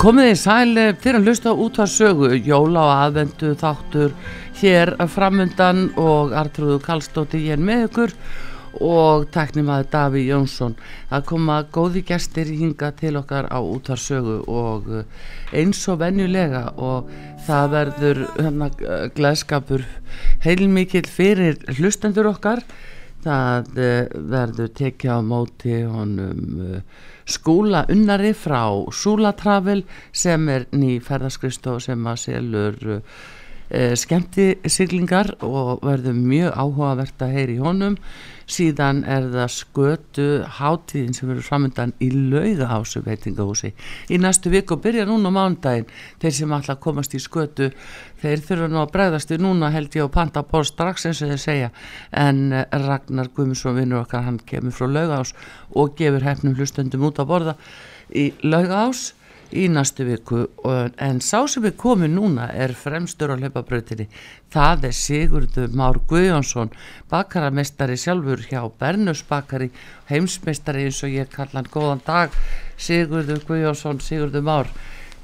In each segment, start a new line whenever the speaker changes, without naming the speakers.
Komið þið sæl eh, þeir að hlusta á útvarsögu, jóla og aðvendu þáttur hér framundan og Artrúðu Kallstóti ég er með ykkur og teknimaði Daví Jónsson. Það koma góði gestir hinga til okkar á útvarsögu og eh, eins og venjulega og það verður hérna, eh, gleðskapur heilmikill fyrir hlustendur okkar. Það eh, verður tekja á móti honum eh, skúla unnari frá Súlatravel sem er ný ferðaskristof sem að selur eh, skemmti siglingar og verður mjög áhugavert að heyri honum. Síðan er það skötu hátíðin sem verður framöndan í laugahásu veitingahúsi. Í næstu viku og byrja núna á mánudaginn þeir sem ætla að komast í skötu þeir þurfa nú að bregðast við núna held ég og panta bór strax eins og þeir segja en eh, Ragnar Guðmundsson vinnur okkar hann kemur frá laugahás og gefur hefnum hlustendum út að borða í laugahás í næstu viku og- en sá sem er komið núna er fremstur á hlaupabrautinni það er Sigurður Már Guðjónsson bakaramestari sjálfur hjá Bernus bakari heimsmeistari eins og ég kalla hann góðan dag Sigurður Guðjónsson, Sigurður Már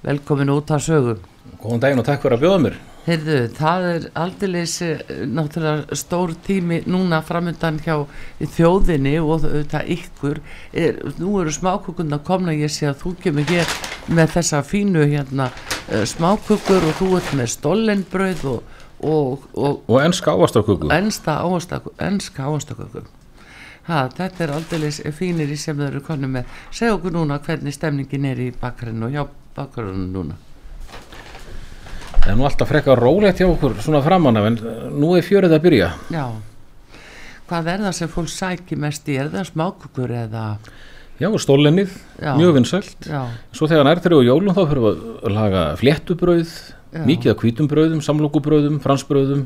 velkomin út af sögum
Góðan daginn og takk fyrir að bjóða mér.
Heyrðu, það er aldeilis eh, náttúrulega stór tími núna framöndan hjá þjóðinni og auðvitað ykkur. Er, nú eru smákökunna komna, ég sé að þú kemur hér með þessa fínu hérna eh, smákökur og þú ert með stollenbrauð og, og, og
Og ennska ávastaköku.
ennsta ávastaköku, ennska ávastaköku. Ha, þetta er aldeilis fínir í sem þau eru konum með. Segð okkur núna hvernig stemningin er í bakkarinn og hjá bakkarinn núna.
Það er nú alltaf frekar rólegt hjá okkur svona framann af en eh, nú er fjörið að byrja.
Já, hvað er það sem fólk sækir mest í? Er það smákukur eða?
Já, stólinnið,
Já.
mjög vinsælt.
Já,
Svo þegar nærtri og jólum þá fyrir við að laga fléttubrauð,
Já.
mikið af hvítum brauðum, samlokubrauðum, fransbrauðum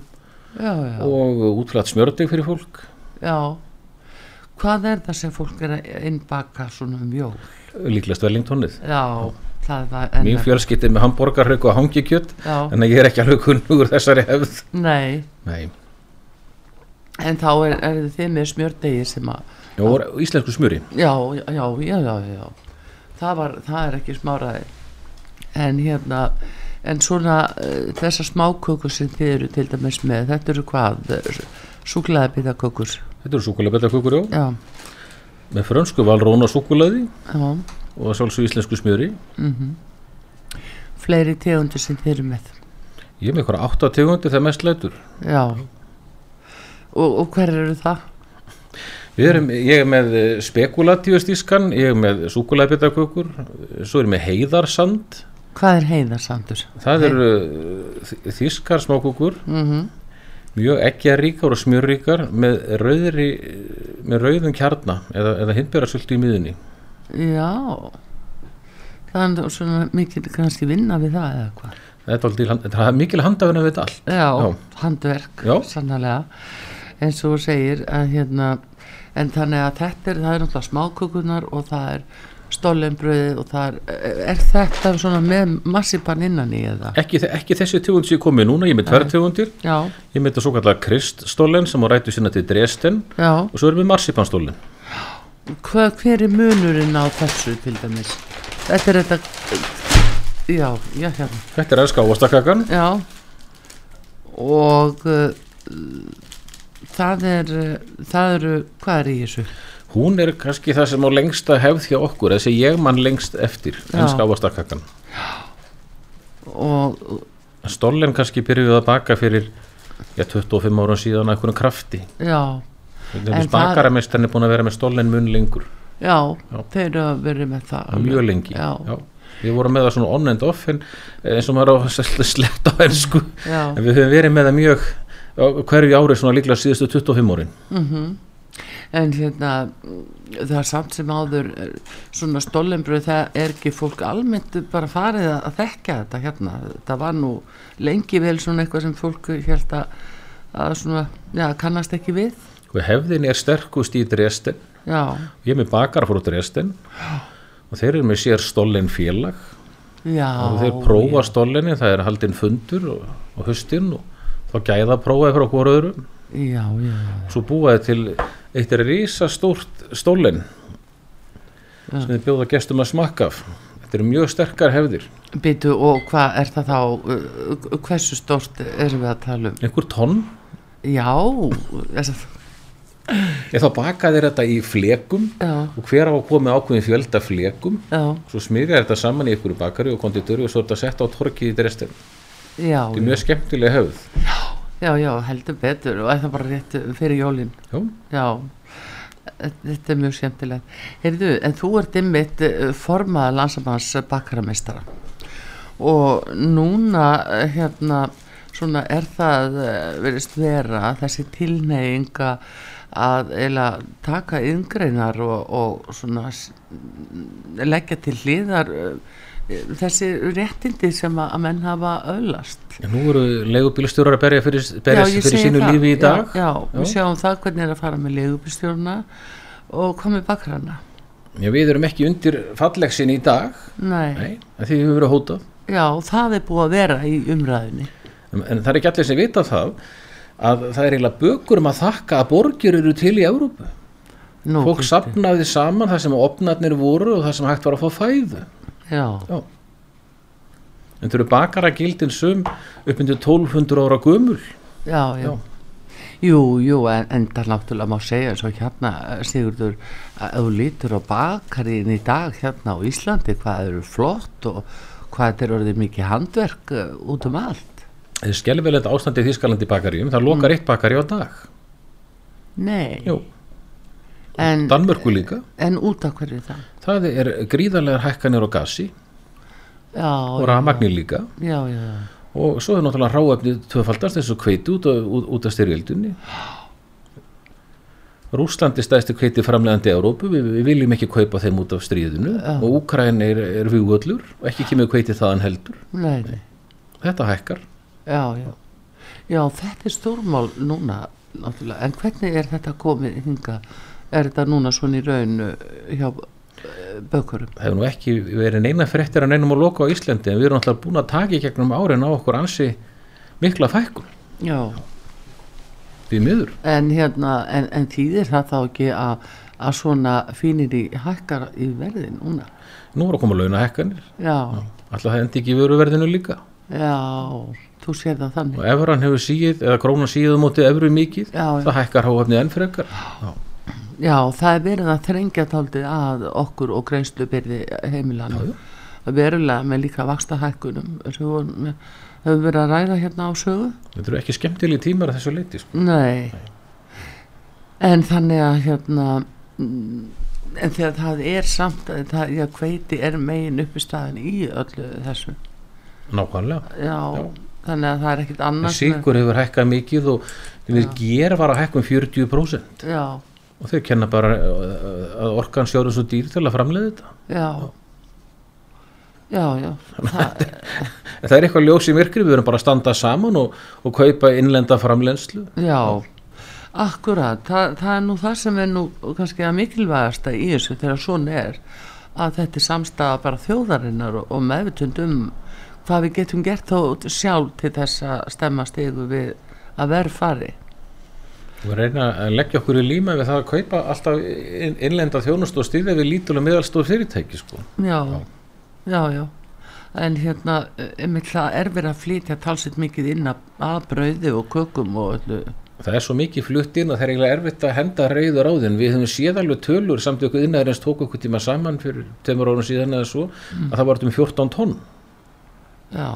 já, já,
og eh, útflætt smjördeg fyrir fólk.
já. Hvað er það sem fólk er að innbaka svona um jól?
Líklast velingtonnið.
Já, það var
Mín
enn.
fjölskyttið með hambúrgarhauk og hangikjött
Já,
en ég er ekki alveg kunnugur þessari hefð.
nei,
Nei,
en þá er, er þið með smjördegi sem að,
já, og íslensku smjöri.
já, já, já, já, já, já. Það var, það er ekki smáraði. En hérna, en svona uh, þessar smákökur sem þið eru til dæmis með, þetta eru hvað? Súklaði bitakökur.
Þetta eru súkulabetakökur, já,
Já,
með frönsku valróna súkulaði
já.
og sjálfsög íslensku smjöri.
mhm. fleiri tegundir sem þeir eru með
Ég er með eitthvað átta tegundir þegar mest lætur.
já og, og hver eru það?
Við Erum, ég er með spekulatíustískan, ég er með súkulæðbitakökur, svo er ég með heiðarsand,
hvað er heiðarsandur?
það eru uh, þískar smákökur,
Mm
mjög eggjaríkar og smjörríkar með, rauðri, með rauðum kjarna eða, eða hindbjörasöldu í miðunni.
já það er svona mikil kannski vinna við það eða hvað
Þetta er, aldrei, þetta er mikil handafinn að veit allt.
já,
Já.
handverk
Já.
sannlega eins og þú segir að hérna en þannig að þetta er, það er náttúrulega smákökunar og það er stollenbröðið og það er, er þetta svona með massipan innan í eða?
Ekki, ekki þessi tegund sem ég komið núna, ég er með tverr tegundir,
já,
ég er með þetta svo kallar kriststólinn sem á rætu sinna til Dresden
já
og svo erum við marsipanstólinn.
Hva, hver er munurinn á þessu til dæmis? Þetta er þetta já, já, hérna
Þetta er elska ávastakakkan.
já og uh, það er uh, það eru, hvað er í þessu?
Hún er kannski það sem á lengsta hefð hjá okkur, þessi ég mann lengst eftir,
Já.
ennska ávastakakkan.
og
Stollen kannski byrjuð að baka fyrir já, 25 árum síðan að einhverjum krafti.
já, En það-
Bakaramestarinn er búin að vera með stollen mun lengur,
já,
Já.
þeir eru að vera með það
mjög lengi.
já, já,
Við vorum með það svona on and off, en eh, eins og maður á að sletta á ennsku. En
já.
við höfum verið með það mjög á hverju ári svona líklega síðustu 25 árin.
Mm-hmm. en hérna það er samt sem áður eh, svona stollenbröð, það er ekki fólk almennt bara farið að að þekka þetta hérna, það var nú lengi vel svona eitthvað sem fólk held að að svona, já, kannast ekki við
Og hefðin er sterkust í Dresden.
já,
Ég er með bakar frá Dresden og þeir eru með sér stollen félag
já
og þeir prófa stólinni, það er haldinn fundur og, og höstinn og þá gæða prófaði frá hvora öðrum
já, já, já,
svo búaði til eitt risastórt stólinn sem þið bjóða gestum að smakka af þetta eru mjög sterkar hefðir
Býtu og hvað er það þá, uh, hversu stort erum við að tala um?
einhver tonn,
Já, þess að,
ég þá baka þeir þetta í flekum
já,
og hver á að koma með ákveðin fjölda flekum
já,
svo smyrja þetta saman í einhverju bakari og konditori og svo er þetta sett á torkið í dresden þetta
já,
er mjög skemmtilega höfð
já, já, heldur betur og er það bara rétt fyrir jólinn.
Já.
Já, þetta er mjög skemmtilegt. Heyrðu, en þú ert ymmit formaða landsamanns bakarameistara og núna eh, hérna svona er það eh, virðist vera þessi tilneyinga að eila taka yngreinar og, og svona s- leggja til hliðar eh, þessi réttindi sem að að menn hafa öðlast.
En Nú eru leigubílstjórar að berja fyrir, berja
ég
fyrir
segi
sínu
það.
lífi í dag.
Já, já, við
Já.
sjáum það hvernig er að fara með leigubistjórna og komið bakrana.
Já, við erum ekki undir fallegsin í dag,
Nei.
nei, af því við höfum verið hótað.
já, það er búið að vera í umræðinni.
En, en það er ekki allir sem vita það að það er eiginlega bökur um að þakka að borgir eru til í Evrópu.
Nú,
Fólk sapnaði saman það sem opnarnir voru og það sem hægt var að fá fæðu.
Já,
Já. En þau eru bakara gildin sum uppmyndu 1200 ára gömul.
já, já.
Já.
Jú, jú, en, en það náttúrulega má segja eins og hérna, eh, Sigurður, að ef þú lítur á bakarinn í dag hérna á Íslandi, hvað þau eru flott og hvað þetta er orðið mikið handverk eh, út um allt.
Það er skelvilegt ástandið í Þískalandi bakaríum, það
Mm.
lokar eitt bakarí á dag.
Nei,
Jú,
en,
Danmörku líka.
en út af hverju það?
Það er gríðarlegar hækkanir á gasi
Já,
og rafmagnir líka
já, já, já.
og svo er náttúrulega ráefnið tvöfaldast eins og kveiti út, á- út, út af styrjöldunni Rúslandi stæðstu kveiti framlegandi Európu, við, við viljum ekki kaupa þeim út af stríðinu og Úkræn er, er vugöllur og ekki kemur kveiti þaðan heldur
Nei, nei.
þetta hækkar
Já, já. Já, þetta er stórmál núna, náttúrulega. En hvernig er þetta komið hinga? Er þetta núna svona í raun uh, hjá uh, bökurum?
það hefur nú ekki verið neina fréttir að neinum að loka á Íslandi en við erum náttúrulega búin að taka í gegnum árin á okkur ansi mikla fækkun
Já.
því miður
En hérna, en, en þýðir það þá ekki að, að svona fínir í hækkar í verði núna?
nú er að koma launahækkanir
Já,
alltaf það endi ekki í vöruverðinu líka
já, þú sér það
og
þannig.
efran hefur síð eða krónan síð á móti efru mikið
Já, já.
það hækkar háhafnið enn frekar
Já, það er verið að þrengja taldið að okkur og greiðslubyrði heimilanum. Verulega með líka vaksta hækkunum. Hefur verið að ræða hérna á sögu?
þetta eru ekki skemmtilegi tímar að þessu leiti sko.
Nei. En þannig að hérna mm, en þegar það er samt að það, já, hveiti er megin uppistaðan í öllu þessu
nákvæmlega
já, þannig að það er ekkit annars
síkur hefur hækkað mikið og við ger var að hækka um 40%
já,
og þeir kenna bara eh, að orkan sjóður svo dýr til að framleiða þetta
já já, já það,
en það er eitthvað ljós í myrkri, við erum bara að standa saman og, og kaupa innlenda framleiðslu
já akkurat, það, það er nú það sem er nú kannski að mikilvægasta í þessu þegar svona er að þetta er samstaða bara þjóðarinnar og, og meðvitund um hvað við getum gert þó sjálf til þess að stemma stegu við að verð fari
og reyna að leggja okkur í líma við það að kaupa alltaf inn- innlenda þjónust og stýða við lítil og meðalstóð fyrirtæki sko.
já, já, já en hérna, einmitt það er verið að flytja talsett mikið inn að, að brauði og kökum og öllu
Það er svo mikið flutt inn að það er eiginlega erfitt að henda reyður á þinn. Við höfum séð alveg tölur samt ykkur innæðurins tók okkur tíma saman fyrir tveimur árum síðan eða svo að það var um 14 tonn.
já,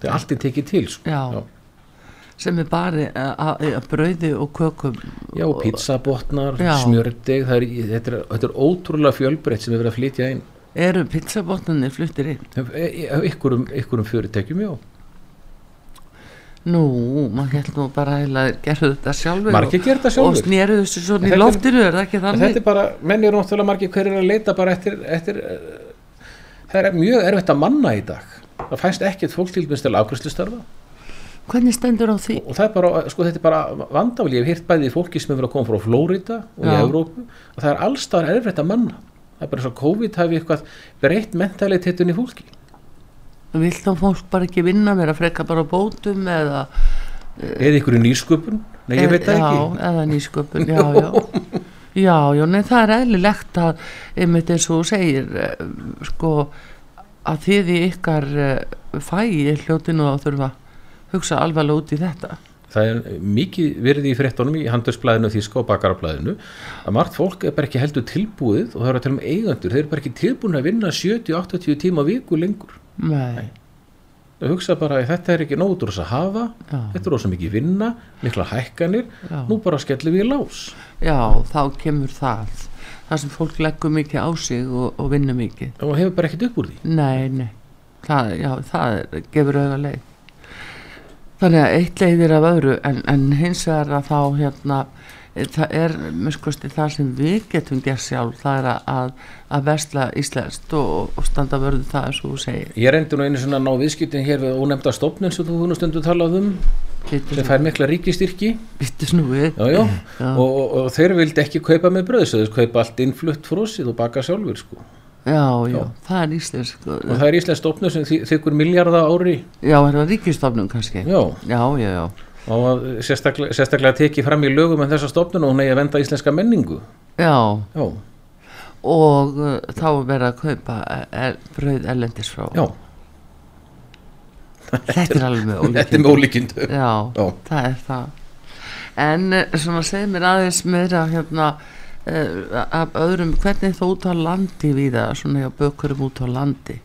Það er allt í tekið til. Sko.
já,
Já.
sem er bara að, að brauði og kökum
Já, og pizzabotnar,
Já.
smjördeg, það er, þetta, er, þetta er ótrúlega fjölbreytt sem er verið að flytja inn.
eru pizzabotnarnir fluttir inn
e- Ykkurum, ykkurum fyrirtækjum, já.
nú, maður held nú bara að gerðu þetta sjálfur
Margir gera þetta
og, og
sjálfur.
sneru þessu svona
Þetta
í
er-
loftinu er það ekki
En
þannig
Þetta er bara, menn eru náttúrulega margir hverjir að leita bara eftir, eftir eh, það er mjög erfitt að manna í dag. Það fæst ekkert fólk til dæmis til afgreiðslustarfa.
hvernig stendur á því?
og það er bara, sko þetta er bara vandamál, ég hef hýrt bæði í fólki sem hefur verið að koma frá Flórida og í
Já.
Evrópu og það er allstaðar erfitt að manna það er bara svo COVID hafi eitthvað breytt mentalitetin í fólki
Vill þá fólk bara ekki vinna mér að freka bara á bótum eða
eða ykkur í nýsköpun, nei ég veit það
já,
ekki
eða nýsköpun, já, já. Já, já, nei, það er eðlilegt að, einmitt eins og þú segir, eh, sko, að þið í ykkar eh, fæi hljótinu að þurfa að hugsa alvarlega út í þetta
Það er mikið verið í fréttunum í handelsblæðinu þíska og bakarablæðinu að margt fólk er bara ekki heldur tilbúið og það eru að tala um eigandur, þeir eru bara ekki tilbúin að vinna 70-80 tíma á viku lengur.
Nei,
Það hugsa bara að þetta er ekki nóg út úr þess að hafa,
Já.
þetta er ósum mikið vinna, mikla hækkanir,
Já.
nú bara skellum við í lás.
já, þá kemur það það sem fólk leggur mikið á sig og, og vinnur mikið
Og hefur bara ekkert upp úr því.
Nei, nei, það, já, það er- gefur auðvitað leið. Þannig að eitt leiðir af öðru en, en hins vegar að þá hérna, eh, það er mér skusti það sem við getum gert sjálf, það er að- að, að vesla íslenskt og, og standa vörðu það eins og þú segir.
Ég reyndi nú einu svona að ná viðskiptin hér við ónefnda stofnun sem þú nú stundu talað um, sem fær mikla ríkistyrki.
Vittu snúið.
Já, já,
Já.
Og, og, og þeir vildi ekki kaupa með bröðsöðus, kaupa allt innflutt frósið og baka sjálfur sko.
Já, já,
Já.
það er íslensk.
og það er Íslands stofnum sem þy- þykur miljarda ári
Já, er það ríkistofnum kannski?
já,
Já, já, já.
og að sérstaklega, sérstaklega tekið fram í lögum en þessa stofnun og hún eigi að venda íslenska menningu
Já,
já,
og uh, þá er verið að kaupa er, brauð erlendis frá.
já,
Þetta er alveg með
þetta er með ólíkindu
Já,
Já.
það er það. En eh, svona segir mér aðeins meira hérna eh, af öðrum, hvernig þú út á landi við það, svona hjá bökurum út á landi.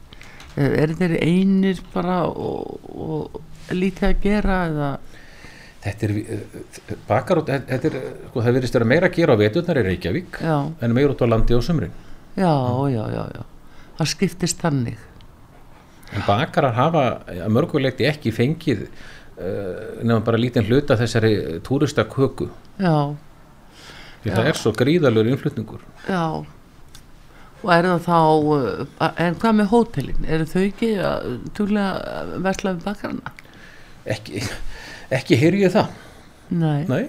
Eh, Er þeir einir bara og, og lítið að gera eða?
þetta er eh, bakar og þetta er, sko, það verðist vera meira að gera á veturnar í Reykjavík
Já,
en meira út á landi á sumrin
já, já, já, já. Það skiptist þannig.
en bakarar hafa að mörguleiti ekki fengið uh, nefnum bara lítinn hluta þessari túrista köku
Já,
því það er svo gríðalur innflutningur
já. Og er það þá, eh, en hvað með hótelin? Eru þau ekki uh, að túlega vesla við bakarana?
ekki, ekki heyri ég það
Nei.
Nei,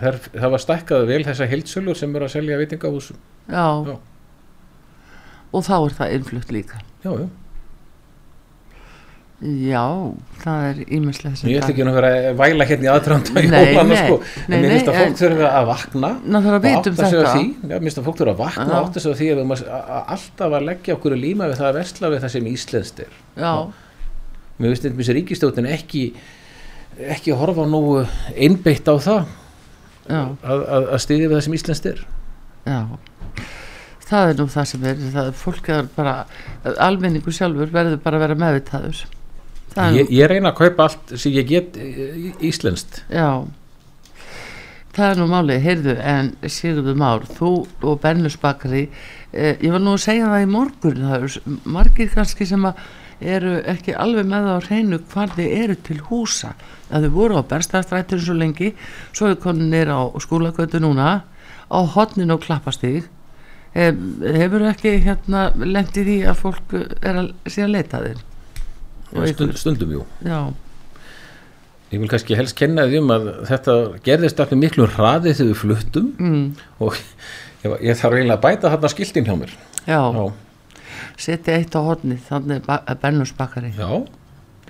Þær, það var stækkað vel þessa heildsölur sem eru að selja veitingahúsum.
Já.
Já.
Og þá er það innflutt líka.
Já, já.
Já, það er ímestlega sem
Ég ætla ekki nú að vera að væla hérna í aðtranda í
Nei,
hópana
nei,
sko.
nei,
en mér finnst
nei,
að fólk
en-
þurfa að vakna
Ná þarf
og
að vita um
átta sig á
þetta.
því. Já, mér finnst að fólk þurfa að vakna
Já.
og átta sig á því að við maður að- að alltaf að leggja okkur í líma við það að versla við það sem íslenskt er.
Já,
Mér finnst þetta ríkistjóttin ekki ekki horfa nógu einbeitt á það
já,
að, að, að styðja við það sem íslenskt er.
já. Það er nú það sem er, það er fólk er bara, almenningu sjálfur verður bara að vera meðvitaður. Það er
Ég, ég reyna að kaupa allt sem ég get eh, íslenskt.
Já, það er nú málið, heyrðu, en Sigurður Már, þú og Bernus Bakari, eh, ég var nú að segja það í morgun, það eru s- margir kannski sem að eru ekki alveg með það á hreinu hvar þið eru til húsa, að þið voru á Bernstastrættur svo lengi, svo er konin er á skólagötu núna, á hotnin og klappastíg, eh, hefur ekki hérna lent í því að fólk eh, er að sé að leita að þér? Og
Stund,
ykkur.
stundum jú.
Já,
Ég vil kannski helst kenna því um að þetta gerðist allir miklu hraði þegar við fluttum
mm,
og ég, ég þarf eiginlega að bæta þarna skiltin hjá mér.
já.
Já,
setja eitt á hodnið þannig að Bernus bakari
já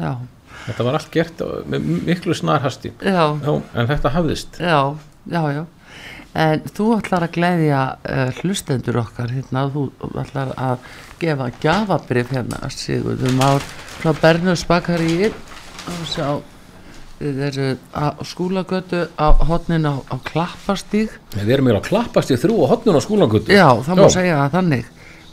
já,
þetta var allt gert á- með miklu snarhasti.
já,
Já, en þetta hafðist.
já, já, já. en þú ætlar að gleðja uh, hlustendur okkar hérna, þú ætlar að gefa gjafabrif hérna Sigurður Már frá Bernus bakari og sjá þeir eru á skúlagötu á hodninu á, á klappastíg
Við erum mér að klappast í þrjú og hotnun á skúlangutu.
Já, það má
Já.
segja það þannig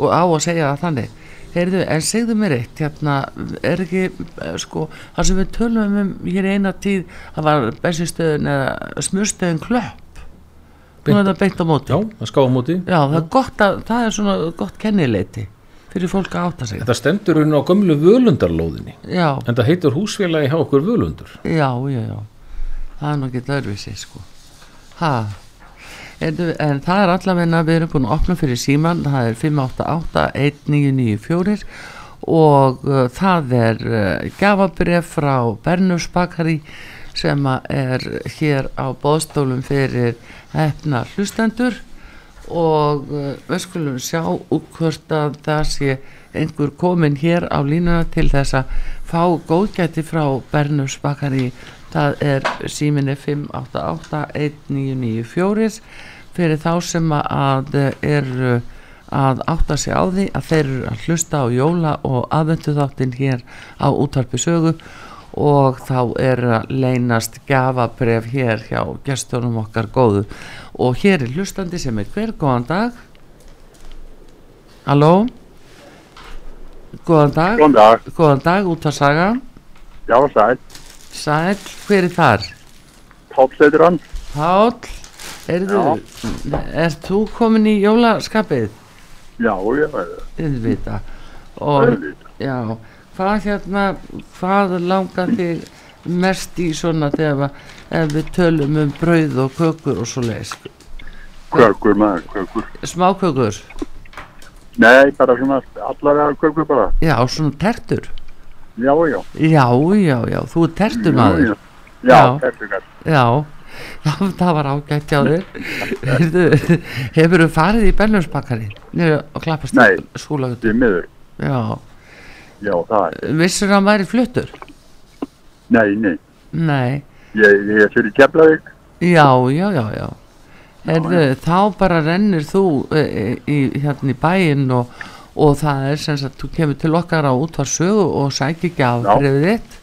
og á að segja það þannig Heyrðu, en segðu mér eitt, hérna, er ekki, eh, sko, það sem við tölum um hér í eina tíð, það var bensinstöðun eða smurstöðun klöpp, nú er það beint á móti.
Já, það skáum úti.
Já, það er gott að, það er svona gott kennileiti fyrir fólk að átta sig.
Þetta stendur hún á gömlu völundarlóðinni.
Já,
En það heitur húsfélagi hjá okkur völundur.
já, já, já, það er nú ekki dörfið sig, sko. Ha, Heyrðu, en það er allavegna, við erum búin að opna fyrir síman, það er 588-1994 og uh, það er uh, gafabref frá Bernus Bakari sem að er hér á bóðstólum fyrir hefna hlustendur og uh, við skulum sjá út hvort að það sé einhver komin hér á línuna til þess að fá góðgæti frá Bernus Bakari það er síminni 588 1994 fyrir þá sem að eh, eru að átta sig á því að þeir eru að hlusta á jóla og aðvendu þáttinn hér á útvarpi sögu og þá er að leynast gafabref hér hjá gestunum okkar góðu og hér er hlustandi sem er hver, góðan dag Halló Góðan dag,
Góðan dag,
góðan dag, útvarsaga
já sæl,
Sæl, hver er þar?
Páll heitir hann,
Páll, erðu, er þú komin í jólaskapið?
já, ég
Auðvita. Og,
veit,
já, hvað hérna, hvað langar þig mest í svona þegar að- ef við tölum um brauð og kökur og svo leiðis?
kökur maður, kökur,
Smákökur,
nei, bara svona allavega kökur bara,
já, svona tertur.
já, já,
Já, já, já, þú er tertur
já,
maður.
já,
Já.
já. tertunar,
Já, já, það var ágætt hjá þér. Heyrðu, hefurðu farið í Bennumsbakari? Nei, og klappast
Nei.
skúlagötu.
því miður,
Já,
já, það, er-
vissur hann væri fluttur?
nei, nei,
Nei,
ég, ég er fyrir Keflavík,
já, já, já, já. Herðu, þá bara rennir þú e, e, í, hérna í bæinn og, og það er sem sagt, þú kemur til okkar á útvarsögu og sækir ekki af
Já.
brefið þitt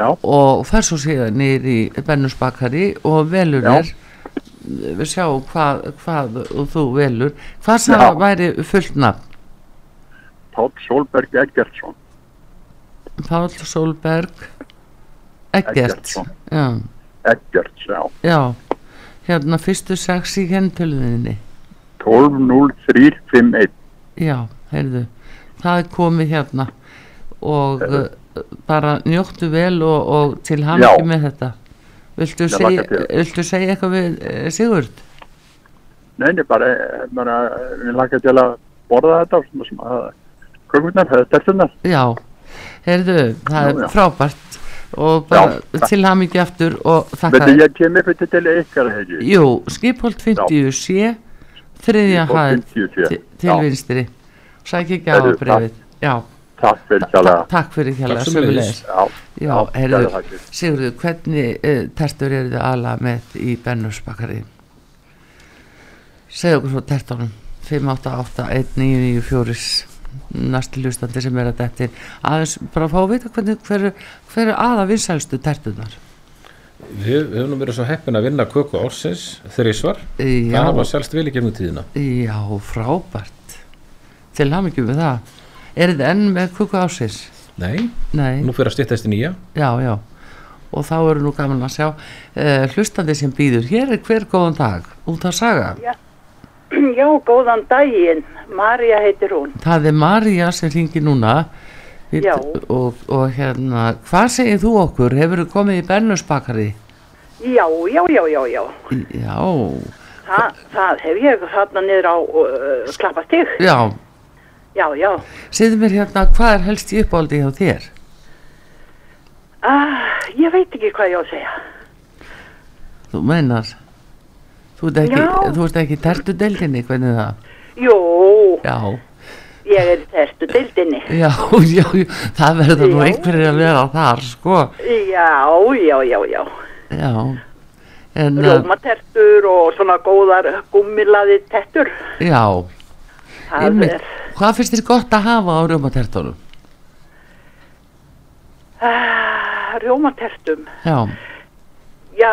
Já.
og fer svo síðan nýr í Bennusbakari og velur
Já.
þér við sjáum hvað, hvað þú velur hvað sem
Já.
væri fullt nafn
Páll Solberg Eggertsson,
Páll Solberg Eggert
Eggertsson.
já,
Eggerts, já,
já hérna fyrstu sex í hentöluðinni
120351,
Já, heyrðu, það er komið hérna og uh, bara njóttu vel og, og til hann
Já.
með þetta. Viltu
Ég
segja,
hlakka til.
viltu segja eitthvað við eh, Sigurd?
nei, nei, bara, eh, bara, við lakka til að borða þetta, svona sem að, kökurnar, eh, tertunar,
Já, heyrðu, það
Já,
er
já.
frábært og bara til hann ekki aftur og þakka.
veitu, ég kem upp til ykkar, heiti,
Jú, skipholt 50 sé, þriðja hæð til, til
til
vinstri. Sæk ekki á
Heyrðu,
brefið. Já,
Takk fyrir
ta
kjala,
takk fyrir hérlega,
Takk sömuleiðis.
sömulegis.
já,
Já,
Já,
heyrðu,
kærar þakkir.
Sigurður, hvernig uh, tertur eru þið aðlega með í Bennusbakari? Segðu okkur svo tertunum 5881994 næstu hlustandi sem er að detti aðeins bara fá að vita hvernig hver, hver er aða vinsælstu tertunar
Við við höfum nú verið svo heppin að vinna köku ársins þrísvar.
Já,
Það hafa selst vel í gegnum tíðina.
já, frábært til hamingjum með það er þið enn með kuku ásins?
Nei,
Nei,
nú fyrir að stýttast í nýja.
já, já og þá eru nú gaman að sjá uh, hlustandi sem býður hér er hver góðan dag út að saga
Já, góðan daginn. Marja heitir hún.
Það er Marja sem ringir núna Við-
Já.
og, og hérna, hvað segir þú okkur? Hefur þú komið í Bernusbakari?
Já, já, já, já, já.
Já,
Þa, það hef ég þarna niður á uh, klappastig.
já,
Já, já.
segðu mér hérna, hvað er helst í uppáldi hjá þér?
Ah, ég veit ekki hvað ég á að segja.
Þú meinar, þú ert ekki,
Já.
þú ert ekki tertu deildinni, hvernig það?
Jú,
Já,
ég er í tertu deildinni.
já, já, já það verður nú
Já.
einhverjir að vera þar, sko,
Já, já, já, já.
já, en, eh,
Rómatertur og svona góðar gummilaði tettur.
já,
Það
einmitt,
er,
hvað finnst þér gott að hafa á rjómatertónum?
ah, Rómatertum.
Já,
Já,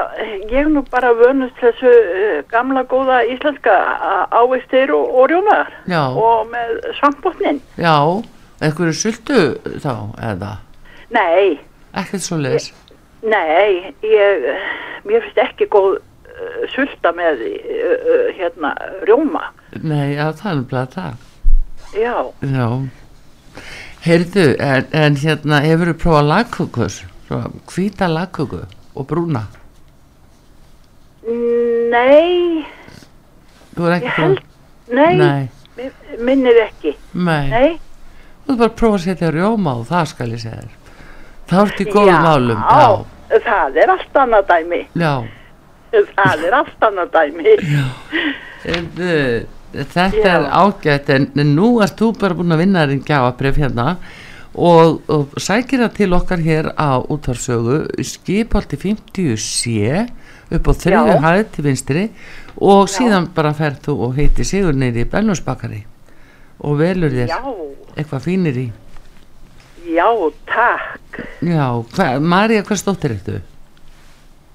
ég er nú bara vönust þessu eh, gamla góða íslenska a- ávistir og, og rjómaðar
já.
og með sambotnin.
Já, einhverju sultu þá eða
Nei,
ekkert svo leis.
nei, ég, eh, mér finnst ekki góð uh, sulta með uh, hérna rjóma.
Nei, já, það er nefnilega það.
Já,
Já. Heyrðu, en, en hérna hefur þú prófað lagkökur, svona hvíta lagköku og brúna.
nei,
Þú er ekki
Ég held- nei, nei.
Nei,
minnir ekki.
nei.
Nei,
Þú er bara að prófa að setja rjóma og það skal ég segja þér. Það ert í góðum
Já.
álum, já,
það er allt annað dæmi,
já.
það er allt annað dæmi.
Heyrðu, Eh, þetta
Já.
er ágætt en en nú ert þú bara búin að vinna þinn gjafabref hérna og, og sækir það til okkar hér á útvarsögu skipaldi 50 sé upp á þriðu
Já.
hæð til vinstri og síðan bara ferð þú og heiti Sigur neyri í Bellnusbakari og velur þér
Já,
eitthvað fínir í.
já, takk.
Já, hva, Marja, hvers dóttir ertu?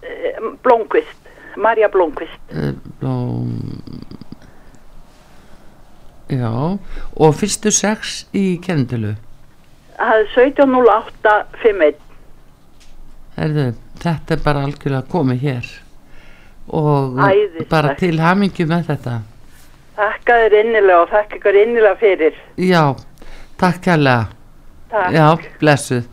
Eh, Blómkvist, Marja Blómkvist.
Eh, Blóm... Já, og fyrstu sex í kennitölu.
Það er 170851.
Herðu, þetta er bara algjörlega komið hér og
Æðislegt.
bara til hamingju með þetta.
Þakka þér innilega og þakka ykkur innilega fyrir.
Já, takk kærlega.
Takk.
Já, blessuð.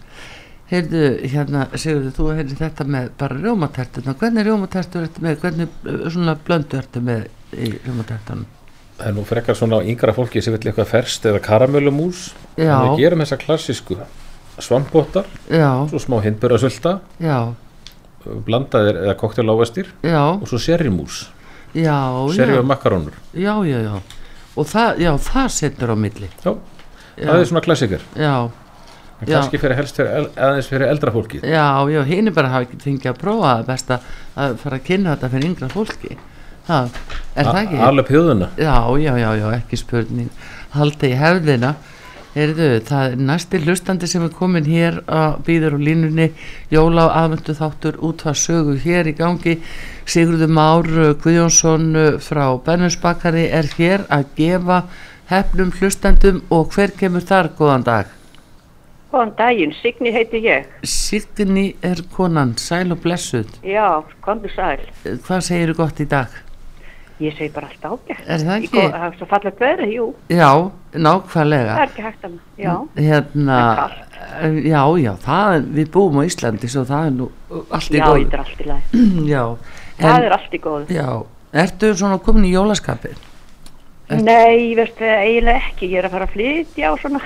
Heyrðu, hérna, Sigurður, þú heyrði þetta með bara rjómatertuna. Hvernig rjómatertur ertu með? Hvernig uh, svona blöndu ertu með í rjómatertunum?
Það er nú frekar svona á yngra fólki sem vill eitthvað ferst eða karamölumús.
Já.
En við gerum þessa klassísku svampbóttar,
Já,
svo smá hindbörasölda,
já,
blandaðir eða koktel ávestir
já,
og svo serrimús,
já,
serri
já,
og makarónur.
já, já, já. Og það, já, það setur á milli.
Já, það er svona klassíker.
Já,
En
Já.
kannski fyrir helst fyrir, el- aðeins fyrir eldra fólkið.
já, já, hinn er bara að hafa ekki fengið að prófa það best að, að fara að kynna þetta fyrir yngra fólki. Það, er það ekki?
Alla pjöðuna.
Já, já, já, já, ekki spurning halda í hefðina Heyrðu, það er næsti hlustandi sem er komin hér að býður á línunni Jóla á aðvendu þáttur útvar sögu hér í gangi Sigurður Már uh, Guðjónsson uh, frá Bennusbakari er hér að gefa hefnum hlustandum og hver kemur þar góðan dag?
Góðan daginn, Signi heiti ég.
Signi er konan, sæl og blessuð
Já, komdu sæl.
Eh, Hvað segirðu gott í dag?
Ég segi bara allt ágætt.
Er það
Í
ekki?
gó- Það er svo fallegt verið, jú.
Já, nákvæmlega
Það er ekki hægt að maður. Já,
hérna,
Það
já, já, það, er- við búum á Íslandi svo það er nú uh, allt í
já,
góð
þetta er allt í lagi.
já,
Það
en,
er allt í góðu.
já, ertu svona komin í jólaskapi?
Nei, veistu, eiginlega ekki. Ég er að fara að flytja og svona.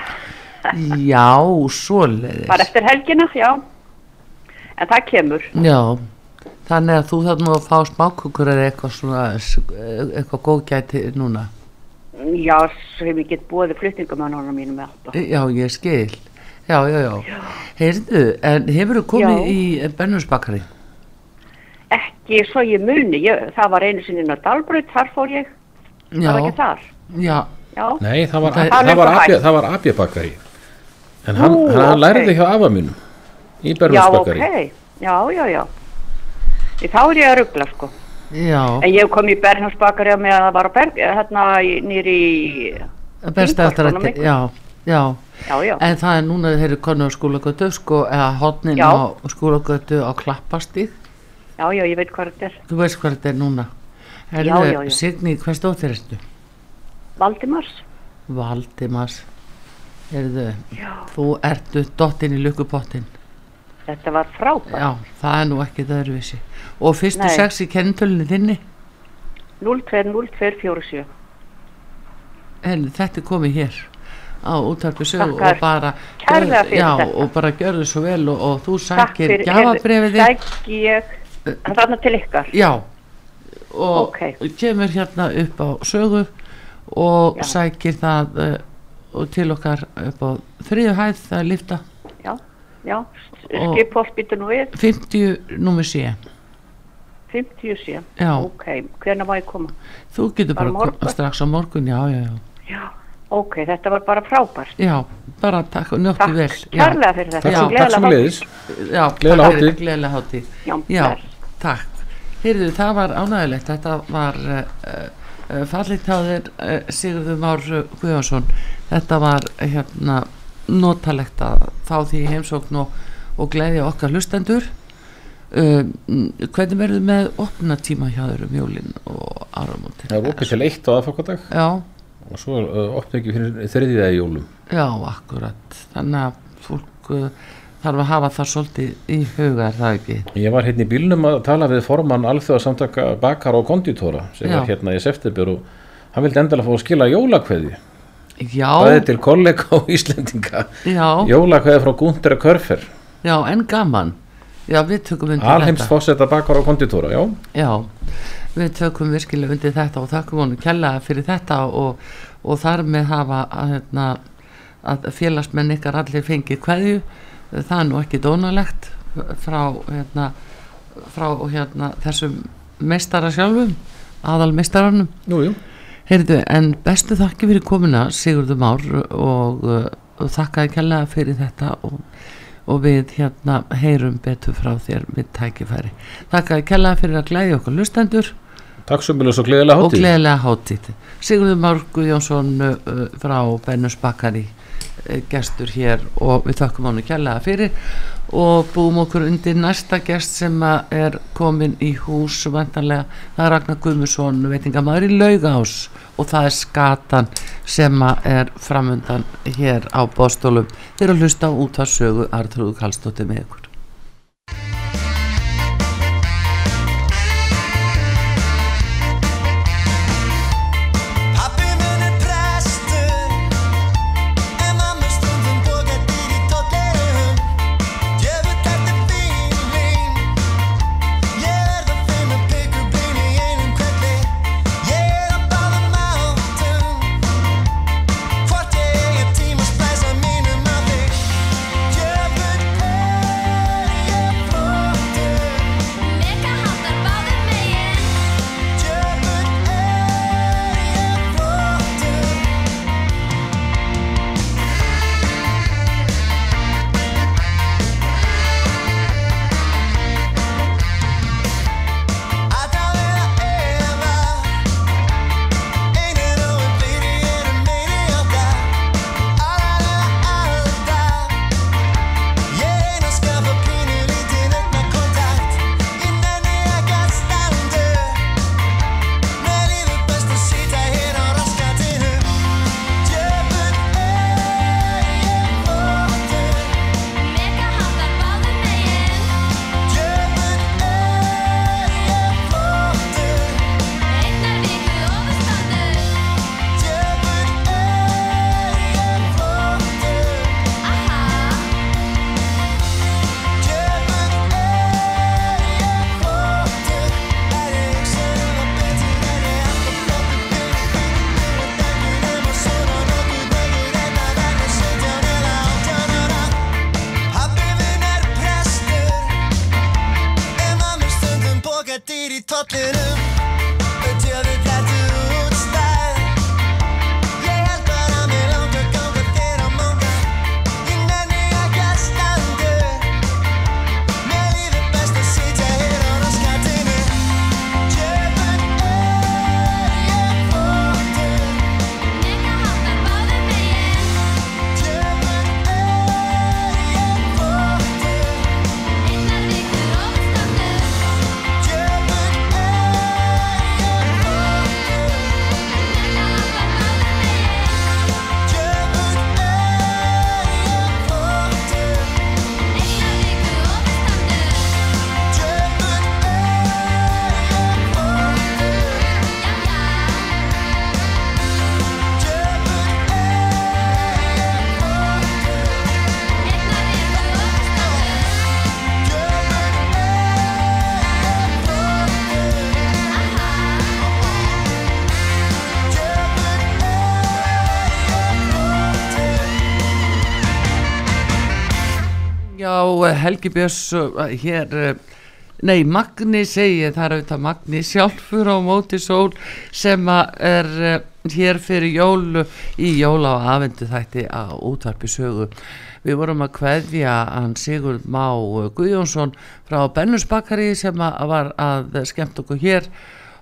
Já, svoleiðis
Bara eftir helgina, já. En það kemur.
já, þannig að þú þarf nú að fá smákukur eða eitthvað svona eh, eitthvað góðgæti núna
Já, sem ég get búið flutningamannunum mínum með allt. og-
já, ég skil já, já, já, heyrðu en hefur þú komið í Bennusbakari?
Ekki svo ég muni. Ég, það var einu sinni inn á Dalbrut, þar fór ég.
já,
Það var ekki þar.
já,
Já,
Nei, það var,
Það-
það
Það
var,
er eitthvað
apja, það var apjabakari. En hann,
Nú,
hann
ok.
lærði hjá afa mínum í
já,
Berlusbakari.
ok. Já, já, já. Í Þá er ég að ruggla, sko.
já
En ég kom í Bernhásbakari á meðan það var á Berg, eh, hérna í- nýri í,
best eftir að,
Þingvallaskólanum.
já, já
já, já,
En það er núna þeir eru konu á skólagötu sko, eða hodnin
Já.
á skólagötu á klappastíð,
já, já, ég veit hvað þetta er.
þú veist hvað þetta er núna
Já,
Herðu,
já, já.
Signý, hvers dóttir ertu?
Valdimars?
Valdimars Herðu,
Já.
þú ertu dottin í lukkupottin
Þetta var frábært.
Já, það er nú ekki öðruvísi Og fyrstu
Nei.
sex í kennitölinni þinni
020247.
Herðu, þetta er komið hér á útarpi sögu
Þakkar
og bara
kærlega fyrir
já,
þetta.
og bara gjörðu svo vel og, og þú
Takk
sækir
fyrir,
gjafabrefið þitt
Sæki ég, það er til ykkar.
Já og
Ókei.
kemur hérna upp á sögu og
Já.
sækir það uh, og til okkar upp á þriðu hæð, það er lifta
Já, já,
Og-
skiphótt býtur nú við,
50 númi sé
50 síðan.
Já,
Ok, hvernig má ég koma?
þú getur
Bara
bara, bara
morgun?
strax á morgun, já, já, já,
Já, ok, þetta var bara frábært.
já bara takk og njóttu vel
Takk
Já,
kærlega fyrir þetta.
Já,
Takk,
Gleðilega
takk sem
hátíð.
leiðis.
já,
Gleðilega
takk fyrir-
hátíð.
gleðilega hátíð
Já,
Já,
bless.
takk Heyrðu, það var ánægilegt, þetta var uh, uh, fallit á þér uh, Sigurður Már Guðjónsson þetta var eh, hérna notalegt að fá því í heimsókn og, og gleðja okkar hlustendur um, hvernig verður með opna tíma hjá þér um jólin og áramótin
Það er opið til eitt á aðfokkadag
já,
og svo uh, opnið ekki fyrir þriðiðaði jólum.
já, akkurat þannig að fólk uh, þarf að hafa það svolítið í huga er það ekki
Ég var hérna í bílnum að tala við formann alþjóða samtaka bakar og konditóra sem
Já.
var hérna í september og hann vildi endala fá að skila jólakveði það er
já,
til kollega og Íslendinga
já,
jólakveði frá Gunther Körfer
já, en gaman já, við tökum undir
alheims fósetta bakar og konditóra já,
Já, við tökum virkilega undir þetta og þakkum honum kjallaða fyrir þetta og, og þar með hafa að, hérna, að félagsmenn ykkar allir fengið kveðju, það er nú ekki dónalegt frá, hérna, frá hérna, þessum meistara sjálfum, aðal meistaranum.
jú, jú,
Heyrðu, en bestu þakki fyrir komuna Sigurður Már og, uh, og þakkaði kærlega fyrir þetta og, og við hérna heyrum betur frá þér við tækifæri. Þakkaði kærlega fyrir að glæði okkur lustendur
Takk svo mjög og gleðilega
og
hátíð.
gleðilega hátíð. Sigurður Már Guðjónsson uh, frá Bennus Bakkari uh, gestur hér og við þakkum honum kærlega fyrir og búum okkur undir næsta gest sem að er komin í hús vantanlega, það er Ragnar Guðmusson veitingamæður í Laugás og það er skatan sem að er framundan hér á bóstólum þeir eru að hlusta á útvarsögu Artrúðu Kallstótti með ykkur.
Pappi minn er prestur En mamma stundum bogar dýr í tóllerum Djöfull ertu fíling Ég er það fimm að byggur blín í einum kvelli Ég er á báðum áttum Hvort ég eigi tíma splæsa mínum á þig Djöfull er ég flottur
Megaháttar báðum megin
Djöfull er ég flottur Alltaf er að efa Einir og einn fyrir ég er meiri á það Allar að alda Ég reyna að skafa pínu lítið ögna kontakt Innan ég að standa Með lífið best að sýta hér á raskatinu Djöfun er ég flottur
Megaháttar báðum megin
Djöfun
Einnar viku ofurstöndur
er ég flottur Djöfun er ég flottur
Aha
Djöfun er ég flottur Er ég svona betur en ég ætla flottur Fyrir, fyrir, fyrir daginn Ef að svona nokkuð daginn En að verða sautján eða átján ára Pabbi minn er prestur En mamma stundum bókar dýr í tollinum Djöfull ertu útstæð Ég held bara að mér langar ganga þér á manga Ég nenni ekki að standa Mér líður best að sitja hér á raskatinu Djöfun er ég flottur
Megaháttar báðum megin
Djöfun er ég
Einnar
flottur
viku ofurstöndur
Djöfun er ég
Megaháttar báðum megin
flottur Djöfun er
Einnar viku ofurstöndur
ég flottur Djöfun er ég flottur
Já já Einnar
Djöfun er ég flottur
viku ofurstöndur Aha
Djöfun er ég flottur Djöfun er ég flottur
Já, Helgi Björns uh, hér, uh, nei Magni segi ég, það er auðvitað Magni sjálfur á móti sól sem að er uh, hér fyrir jól uh, í jóla og afendu þætti á útvarpi sögu. Við vorum að kveðja hann Sigurd Má eh, Guðjónsson frá Bennus Bakari sem að var að skemmt okkur hér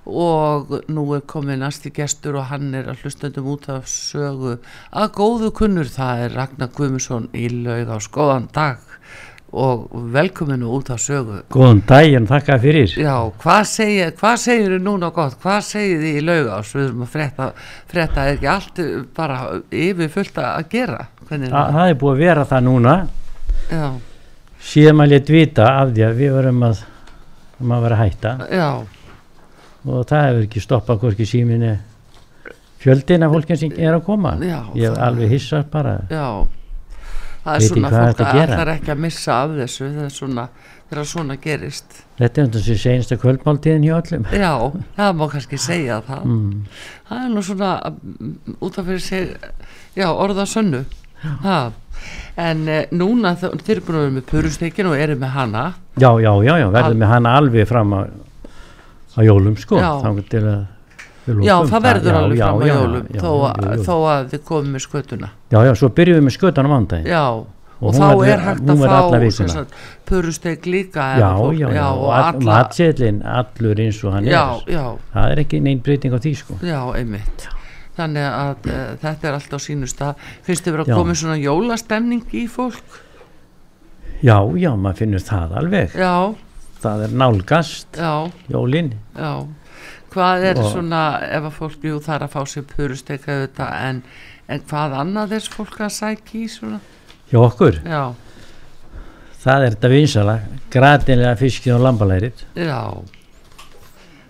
og nú er komið næsti gestur og hann er að hlustendum út af sögu að góðu kunnur það er Ragnar Guðmusson í laugás góðan dag og velkominu út af sögu
Góðan daginn, þakka fyrir.
já, hvað segir, hvað segir þið núna gott hvað segir þið í laugás við erum að frétta, frétta er ekki allt uh, bara yfir fullt að gera hvernig
Þa,
er
það er búið að vera það núna.
það já,
Síðan maður létt vita af því að við varum að, um að vera að hætta
já,
og það hefur ekki stoppað hvorki síminni fjöldin af fólkinn sem er að koma.
Já,
Ég hef
það-
alveg hissað bara.
já það er
Veit ég
svona
hvað
fólk
þetta
að
gera?
allar ekki að missa af þessu þegar svona, þegar svona gerist
Þetta er þetta sem seinsta kvöldmáltíðin hjá öllum.
Já, það má kannski segja það.
Mm.
Það er nú svona mm, út af fyrir sig, já, orða sönnu. Ha. En e, núna þ- þeir eru búin að vera með purustekin og eru með hana.
Já, já, já, já,
Al-
verðum við hana alveg fram á, á jólum sko.
Já.
Þá til að Við lokum.
Já, það verður alveg
já,
fram á
já,
jólum
já,
þó,
jú,
að-
jú.
þó að þið komum með skötuna.
Já, já, svo byrjum við með skötan á mándaginn.
Já, og,
hún
þá
verður-
er hægt
hún
að
verður alla vikuna.
fá purusteg líka. ef
Já,
fólk-
já, já,
og
og
alla,
matseðlinn allur eins og hann
já,
er.
já,
Það er ekki neinn breyting á því, sko.
já, einmitt. Þannig að uh, þetta er allt á sínum stað. Finnst þið verið
Já.
að koma svona jólastemning í fólk?
Já, já, maður finnur það alveg.
Já,
Það er nálgast,
já,
jólinn.
já. Hvað er
Og-
svona, ef að fólk, jú, það er að fá sér purusteg auðvitað, en, en hvað annað er fólk að sækja í svona?
Hjá okkur,
Já,
það er þetta vinsala, gratinlega fiskið og lambalærið.
já.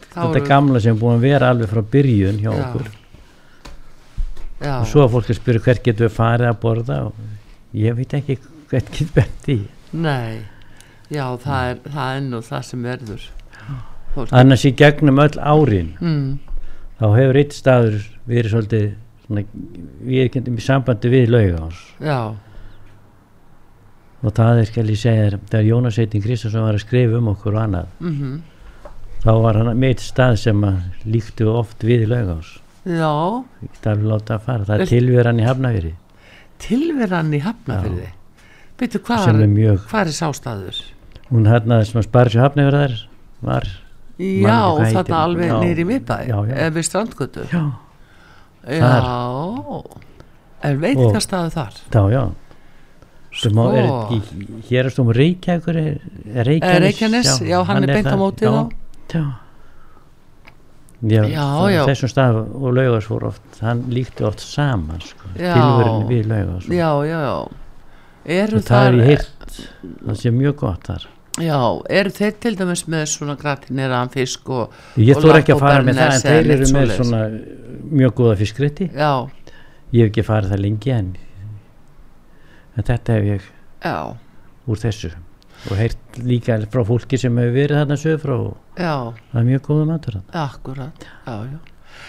Þá
Þetta
eru-
gamla sem er búin að vera alveg frá byrjun hjá
Já.
okkur.
Já,
Og svo að fólk er spyrja hvert getur við farið að borða og ég veit ekki hvert getur bent í.
nei, já, það er, það er nú það sem verður. Fólk-
Annars í gegnum öll árin,
Mm,
þá hefur eitt staður verið svolítið, svona, við erum í sambandi við laugás.
já,
Og það er, skal ég segja þér, þegar Jónas Eitin Kristjánsson var að skrifa um okkur og annað,
mhm,
þá var hann með eitt stað sem að líktu oft við laugás.
já,
Ég get alveg láta að fara, það
Vel-
er tilveran í Hafnafjörði
tilveran í hafnafyrði. Veitu,
sem
hvað
er
er,
mjög,
hvað er sástaður?
hún hérna sem að spara sér Hafnafjörðar var,
Já,
hvað heitir
þarna
hún.
alveg
Já,
nýri miðbæ,
já, já.
eh, við strandgötu.
já,
Já, en veit
Og-
hvað staður þar? Sko.
já, já sem á, er ekki, hér er stóðum Reykjavíkur er, er
Eh,
Reykjanes,
Reykjanes, já, hann er beint á
það,
móti þá.
já, já, já,
Já,
það,
já.
þessum stað og laugars voru oft, hann líkti oft saman sko,
Já.
tilverun við laugars
Já, já, já. Eru
og það
þar,
er ég heyrt það sé mjög gott þar
já, eru þeir til dæmis með svona gratineraðan fisk og,
ég
Og
þóra ekki að
lapp og
fara með það en
Bernes eða
þeir eru
neitt
með
svoleiðis.
svona mjög góða fiskrétti
já,
ég hef ekki farið það lengi en, en þetta hef ég
já,
úr þessu og heyrt líka frá fólki sem hefur verið þarna sögur frá og
já,
það er mjög góða matur þarna
akkurat, já, já.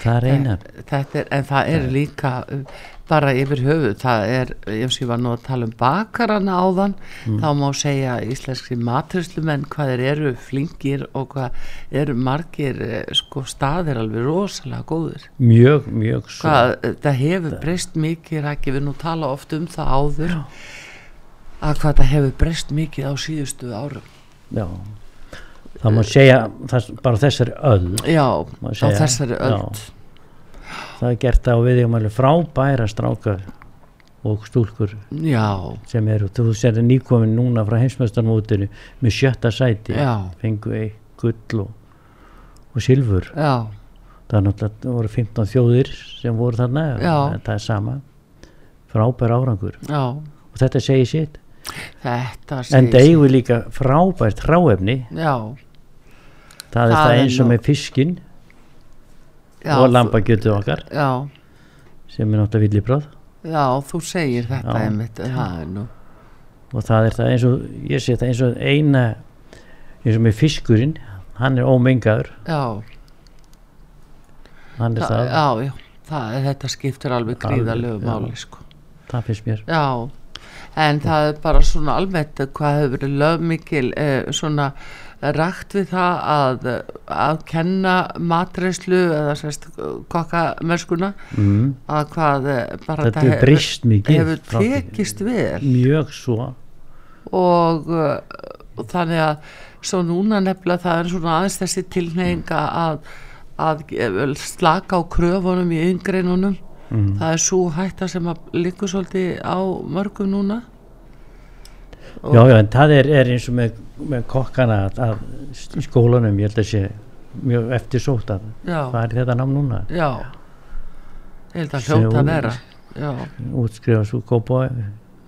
það er eina,
þetta er, en það er líka um, bara yfir höfuð, það er eins og ég var nú að tala um bakarana áðan
Mm.
þá má segja íslenski matrislumenn hvað þeir eru flingir og hvað eru margir eh, sko staðir alveg rosalega góðir
mjög, mjög svo
hvað það hefur breyst mikið rækki við nú tala oft um það áður að hvað það hefur breyst mikið á síðustu árum
já það má segja, það, bara þessari öll
já,
Má
á
segja,
þessari
já.
öld
það er gert það og við erum alveg frábæra stráka og stúlkur
já,
sem eru, þú sér það nýkomin núna frá heimsmeistarmótinu með sjötta sæti
Já.
fengu eitt gull og, og silfur
já,
það er náttúrulega voru 15 þjóðir sem voru þarna
Já.
það er sama frábær árangur
já
og þetta segir sitt
þetta
en
segir-
það eigum við líka frábært hráefni
já
það, er
Það
það
er
eins og
nú-
með fiskin
já,
og
þú-
lambagjötu okkar
já,
sem er náttúrulega villibráð
já, þú segir þetta
Já.
einmitt það er nú,
og það er það eins og ég sé það eins og eina eins og með fiskurinn hann er ómengaður
já,
hann er
það,
það,
já, já það, þetta skiptir alveg
Alveg,
gríðalegu
já.
máli sko.
það finnst mér
já, en það er bara svona almennt að hvað hefur verið lögmikil eh, svona rækt við það að, að kenna matreyslu eða sérst kokkamörskuna
mm.
að hvað eh, bara
þetta er brist mikið
hefur
frá því.
tekist vel
mjög svo
og, uh, og þannig að svo núna nefnilega það er svona aðeins þessi tilneying að, að eh, slaka á kröfunum í yngreinunum
Mhm.
það er svo hætta sem að liggur svolítið á mörgum núna Og-
já, já, en það er, er eins og með, með kokkana að, að s- í skólanum ég held að sé mjög eftirsótt að
já,
hvað er þetta nám núna
já ég held að
Sem
hljóta
hún-
að vera já,
útskrifa svo kópa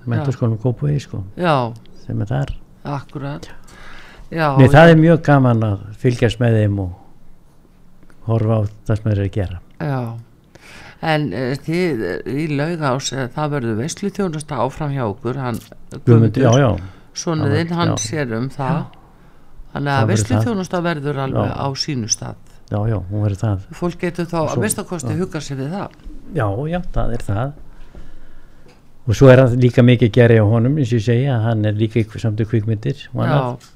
mentorskólanum kópa sko,
já,
sem er þar
akkurat já,
Nei, það er mjög gaman að fylgjast með þeim og horfa á það sem þeir eru að gera
já En uh, þið eh, í laugás, uh, það verður veislu þjónasta áfram hjá okkur, hann
Guðmundur, já, já, Það
Svonuðinn,
verður-
hann
já.
sér um það Þannig
Það
að
verður
veislu
það.
þjónusta verður alveg
Já.
á sínu stað
já, já, hún verður það
Fólk getur þá að
Svo-
mistakosti hugað sér við það
já, já, það er það og svo er hann líka mikið að gera hjá honum eins og ég segja, hann er líka í- samt í kvikmyndir og
Já,
annað,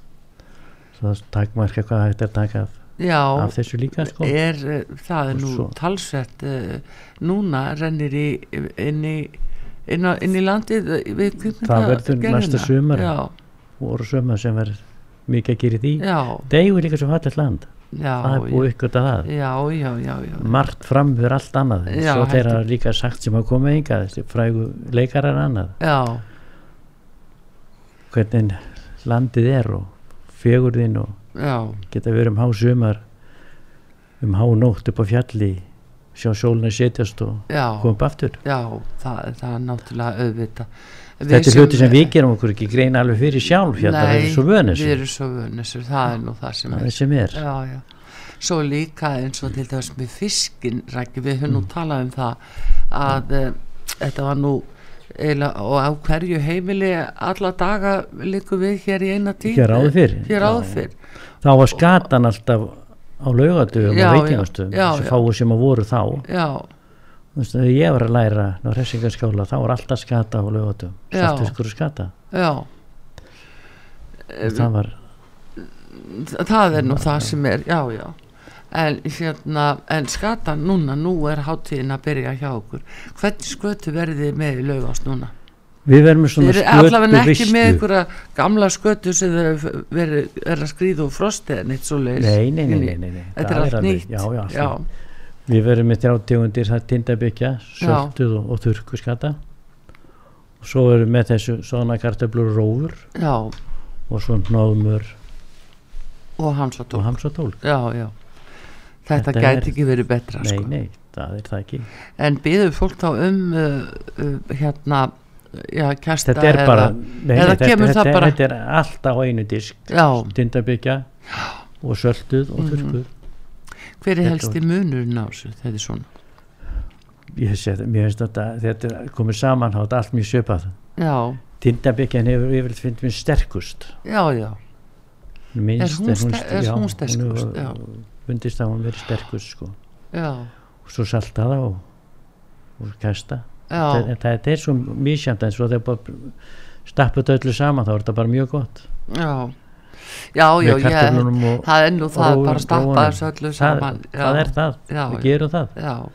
svo það takmarka hvað hægt er að taka af
já,
af þessu líka sko.
er, eh, það er
Og
nú
svo-
talsvert uh, núna rennir í, inn, í, inn, á, inn í landið eh, við
Það verður
kvikmyndagerðina.
næsta sumar.
já,
voru sömur sem verður mikið að gera í því
já,
Degu er líka svo fallegt land
já,
það er búið ykkur að það
já, já, já, já,
margt fram fyrir allt annað
Já,
svo þeirra
heldur.
líka sagt sem að koma hingað þessi frægu leikarar annað
já,
hvernig landið er og fegurðin og
já,
geta verið um há sumar um há nótt upp á fjalli sjá sólina setjast og
já,
koma upp aftur
já, það, það er náttúrulega auðvitað. Við
þetta er hluti sem við gerum okkur ekki greina alveg fyrir sjálf hérna það
Nei,
er svo vönis
Við erum svo vönisur, það er nú það sem
það
er.
er sem er
Já, já. Svo líka eins og til dæmis með fiskinn, Rækki, við höfum nú
Mm.
talað um það að e, þetta var nú eila, og á hverju heimili alla daga liggur við hér í eina tíð.
Hér áður fyrr.
Hér áður
Já,
fyrr.
þá var skatan alltaf á laugadöfum
Já,
og
já,
veitingastöfum
já,
þessu
já.
fáu sem að voru þá
Já,
Þú veist, þegar ég var að læra á hressingaskála þá var alltaf skata á laugadöfum
Já.
saltiskur og skata
já. Eh,
og það var
Þa- það er nú það sem er, já, já en hérna, en skatan núna nú er hátíðin að byrja hjá okkur hvernig skötu verðið þið með í laugast núna?
við verðum með
Þeir
svona
eru allavega
skötu
ekki með
veislu
einhverja gamla skötu sem þeir eru verið- eru að skrýða úr frosti en eitt svo leiðis
nei, nei, nei, nei, nei, nei.
Þetta
það
er allt
alveg-
nýtt
já, já, allt
já,
nýtt. við verðum með þrjátegundir það er tindabykja, söltuð og, og þurrku skata og svo verðum með þessu svona kartöflur og rófur
já,
og svo hnáðmör
og hans að
og
tók
hamsatól
Já, já Þetta,
Þetta
þetta
er-
gæti ekki verið betra
nei,
sko.
nei, það er það ekki
en býður fólk þá um uh, uh, hérna já, kæsta
þetta er
eða-
bara nei,
eða
nei, þetta,
kemur
þetta,
það bara-
þetta er alltaf á einu disk
Já.
tindabykja og sölduð og þurrkuð
hver er
Þetta
helsti munurinn á þessu þetta er svona
ég sé þetta, mér finnst þetta þetta er komið saman, þá er þetta allt mjög söpað
já,
tindabykjan hefur yfirleitt finnst mér sterkust
já, já,
minnst,
Er hún ste- er hún sterkust, já.
fundist að hún verið sterkust sko.
já,
og svo saltaða og, og kasta
já,
það, það er svo misjæmt en svo þegar bara stappa þetta öllu saman þá er þetta bara mjög gott
já já, já,
Með
ég,
kartöflunum og-
það er nú það
rófum-
bara að
rófunum.
stappa þessu öllu saman
það, það er það,
Já,
við
já.
gerum það
já,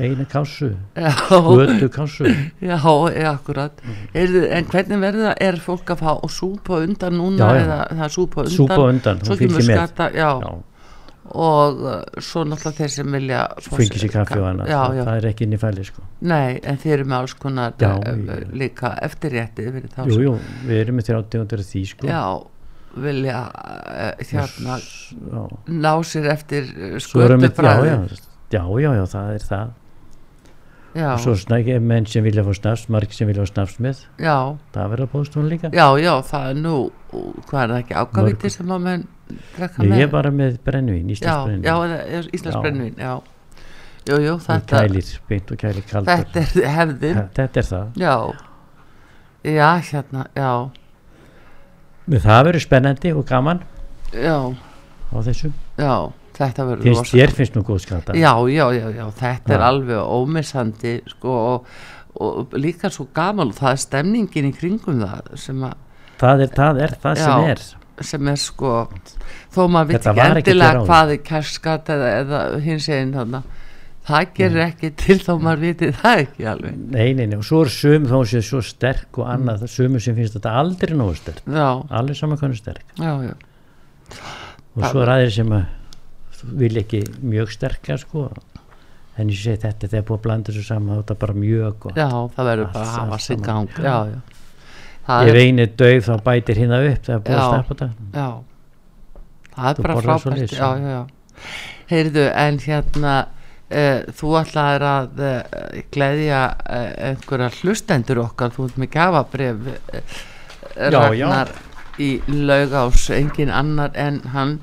eina kásu,
já,
vötu kásu
já, já, akkurat
Mhm.
er, en hvernig verður það, er fólk að fá og súpa á undan núna
Já, já.
eða það er súpa á undan,
súpa á undan,
svo
hún
kemur
fylgir með
skata já,
Já,
og uh, svo náttúrulega þeir sem vilja fá
fylgir sér kaffi
ka-
og annað sko.
já,
það,
já,
það er ekki inn í fæli sko.
nei, en þeir eru með alls konar
Já,
eh,
já.
líka eftirrétti fyrir þá
jú,
sem-
jú, við erum með þér áttegundur því sko.
já, vilja uh, hérna
já.
ná sér eftir eh,
Svo erum við, já, já,
skötubræði
já, já, já, það er það
já,
og svo snakki menn sem vilja fá snafs, margir sem vilja fá snafs með
já,
það verður að bóðstofan líka
já, já, það er nú hvað er það ekki, ákaviti
Mörg-
sem að menn drekka
Nei,
með
ég er bara með brennivín,
já,
íslensbrennivín
já, eða- eða Íslands
Já.
brennvin já, jú, jú,
og
þetta
kælir, beint og kælir kaldar
þetta er hefðin,
Ha, þetta er það
já já, hérna, já
Men það verður spennandi og gaman
já,
á þessu
já, þetta verður
finnst,
rosa-
ég finnst nú góð skata
já, já, já, já, þetta er
Já.
alveg ómissandi, sko og, og líka svo gaman og það er stemningin í kringum það sem að
það, er, það er það sem
Já.
er
sem er sko þó maður veit
Þetta
ekki
var ekki
endilega
hér áður.
hvað er kærskat eða, eða hins einn þarna það gerir ekki til þó maður viti það ekki alveg
Mm. nei, nei, nei, og svo er sum þó séu svo sterk og annað, mm. sumur sem finnst þetta aldrei nógu sterk
já,
alveg saman hvernig sterk
já, já,
og svo er aðeir sem að vil ekki mjög sterka sko en ég segi þetta, þegar búið að blanda þessu saman þá er þetta bara mjög gott
já það verður
Allt-
bara að hafa
allt
sinn
saman.
gang já, já, það
ef
er,
einu er dauf þá bætir hérna upp þegar búið að
Já.
snappa þetta
já það
Þú
er bara
borðar
frábært
svoleiðis,
já,
já.
já, já, heyrðu en hérna Uh, þú ætlaðir að uh, gleðja uh, einhverja hlustendur okkar þú ert með gafabref uh,
Já, já.
Ragnar í laugás engin annar en hann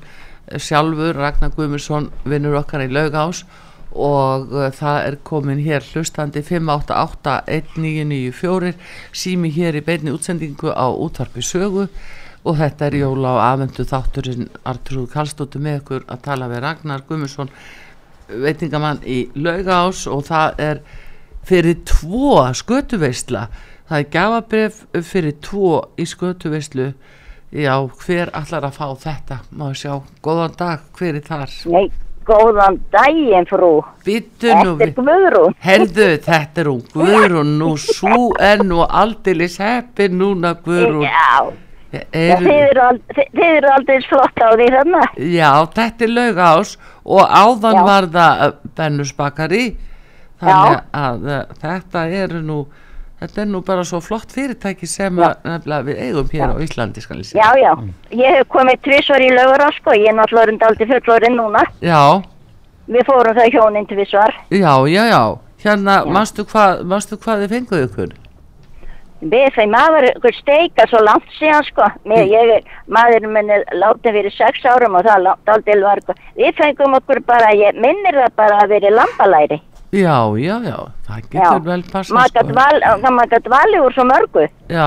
eh, sjálfur Ragnar Guðmundsson vinnur okkar í laugás og uh, það er komin hér hlustandi 588-1994 sími hér í beinni útsendingu á útvarpi sögu og þetta er jóla á afendu þátturinn Artrúð Kallstóttu með ykkur að tala við Ragnar Guðmundsson veitingamann í laugás og það er fyrir tvo skötuveisla það er gafabref fyrir tvo í skötuveislu Já, hver allar að fá þetta? Má sjá, góðan dag, hver er þar?
Nei, góðan daginn frú.
Býttu
Þetta
nú
er
við.
Guðrún.
Herðu, þetta er hún Guðrún, nú svo er nú aldeilis heppin núna Guðrún.
Já,
Er,
þið eru ald- þið- þið eru aldrei flott á því hérna.
já, þetta er laugás og áðan
Já.
var það uh, Bennus Bakari. Þannig að uh, þetta eru nú, þetta er nú bara svo flott fyrirtæki sem að, nefnilega við eigum hér á Íslandi, skal ég segja.
Já, já, ég hef komið tvisvar í laugur á sko, ég er náttúrulega orðin aldrei fullorinn núna.
Já,
Við fórum það hjónin tvisvar.
já, já, já. Hérna, manstu hvað, manstu hvað þið fenguð ykkur?
Við þeim maður ykkur steika svo langt síðan sko. Mér, ég, er- maðurinn minn er látið fyrir sex árum og það langt aldrei var sko. Við fengum okkur bara, ég minnir það bara að verið lambalæri.
Já, já, já, það getur vel passað sko.
maður gat val, það maður gætt valið úr svo mörgu.
Já.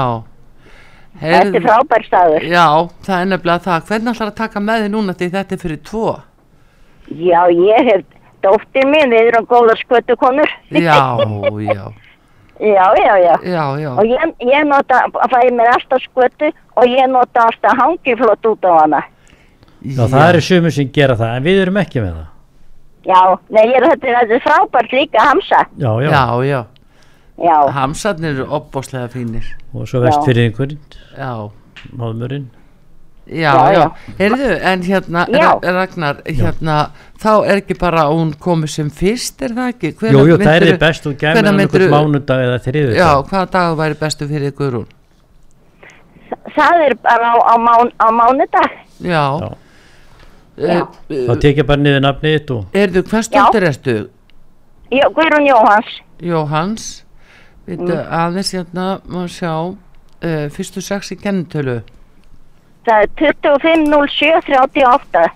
Þetta er frábær staður.
Já, það er nefnilega það. Hvernig ætlar að taka með þið núna því þetta er fyrir tvo?
Já, ég hef dóttir mín, við erum góðar skötukonur.
Já, já,
já, já, já.
já, já.
Og ég, ég nota, fæði mér alltaf skötu og ég nota alltaf hangiflott út á hana.
Já, það eru sumir sem gera það en við erum ekki með það.
Já, nei, ég, þetta, er- þetta er frábært líka hamsa.
Já, já,
Já, já.
Já,
Hamsarnir eru opbóslega fínir.
og svo vest fyrir einhvern,
Já,
móðmurinn.
já,
Já,
já.
já.
Heyrðu, en hérna,
Já.
Ra- Ragnar, hérna, þá er ekki bara að hún komið sem fyrst, er það ekki?
Jú,
Hvenær
jú, það er
myndirðu-
best og gæmur en
hvenær
einhvern
myndirðu-
mánudag eða þriðu.
Já, hvaða dag væri bestu fyrir Guðrún?
það er bara á, á, mán, á mánudag.
Já, Eh,
Já.
já.
Þá tekja bara niður nafnið þitt og
Erðu, hvers dóttir ertu?
Jó, Guðrún Mm. Jóhans,
Jóhans Veitu, aðeins hérna má sjá uh, fyrstu sex í kennitölu
það er 25.07.38.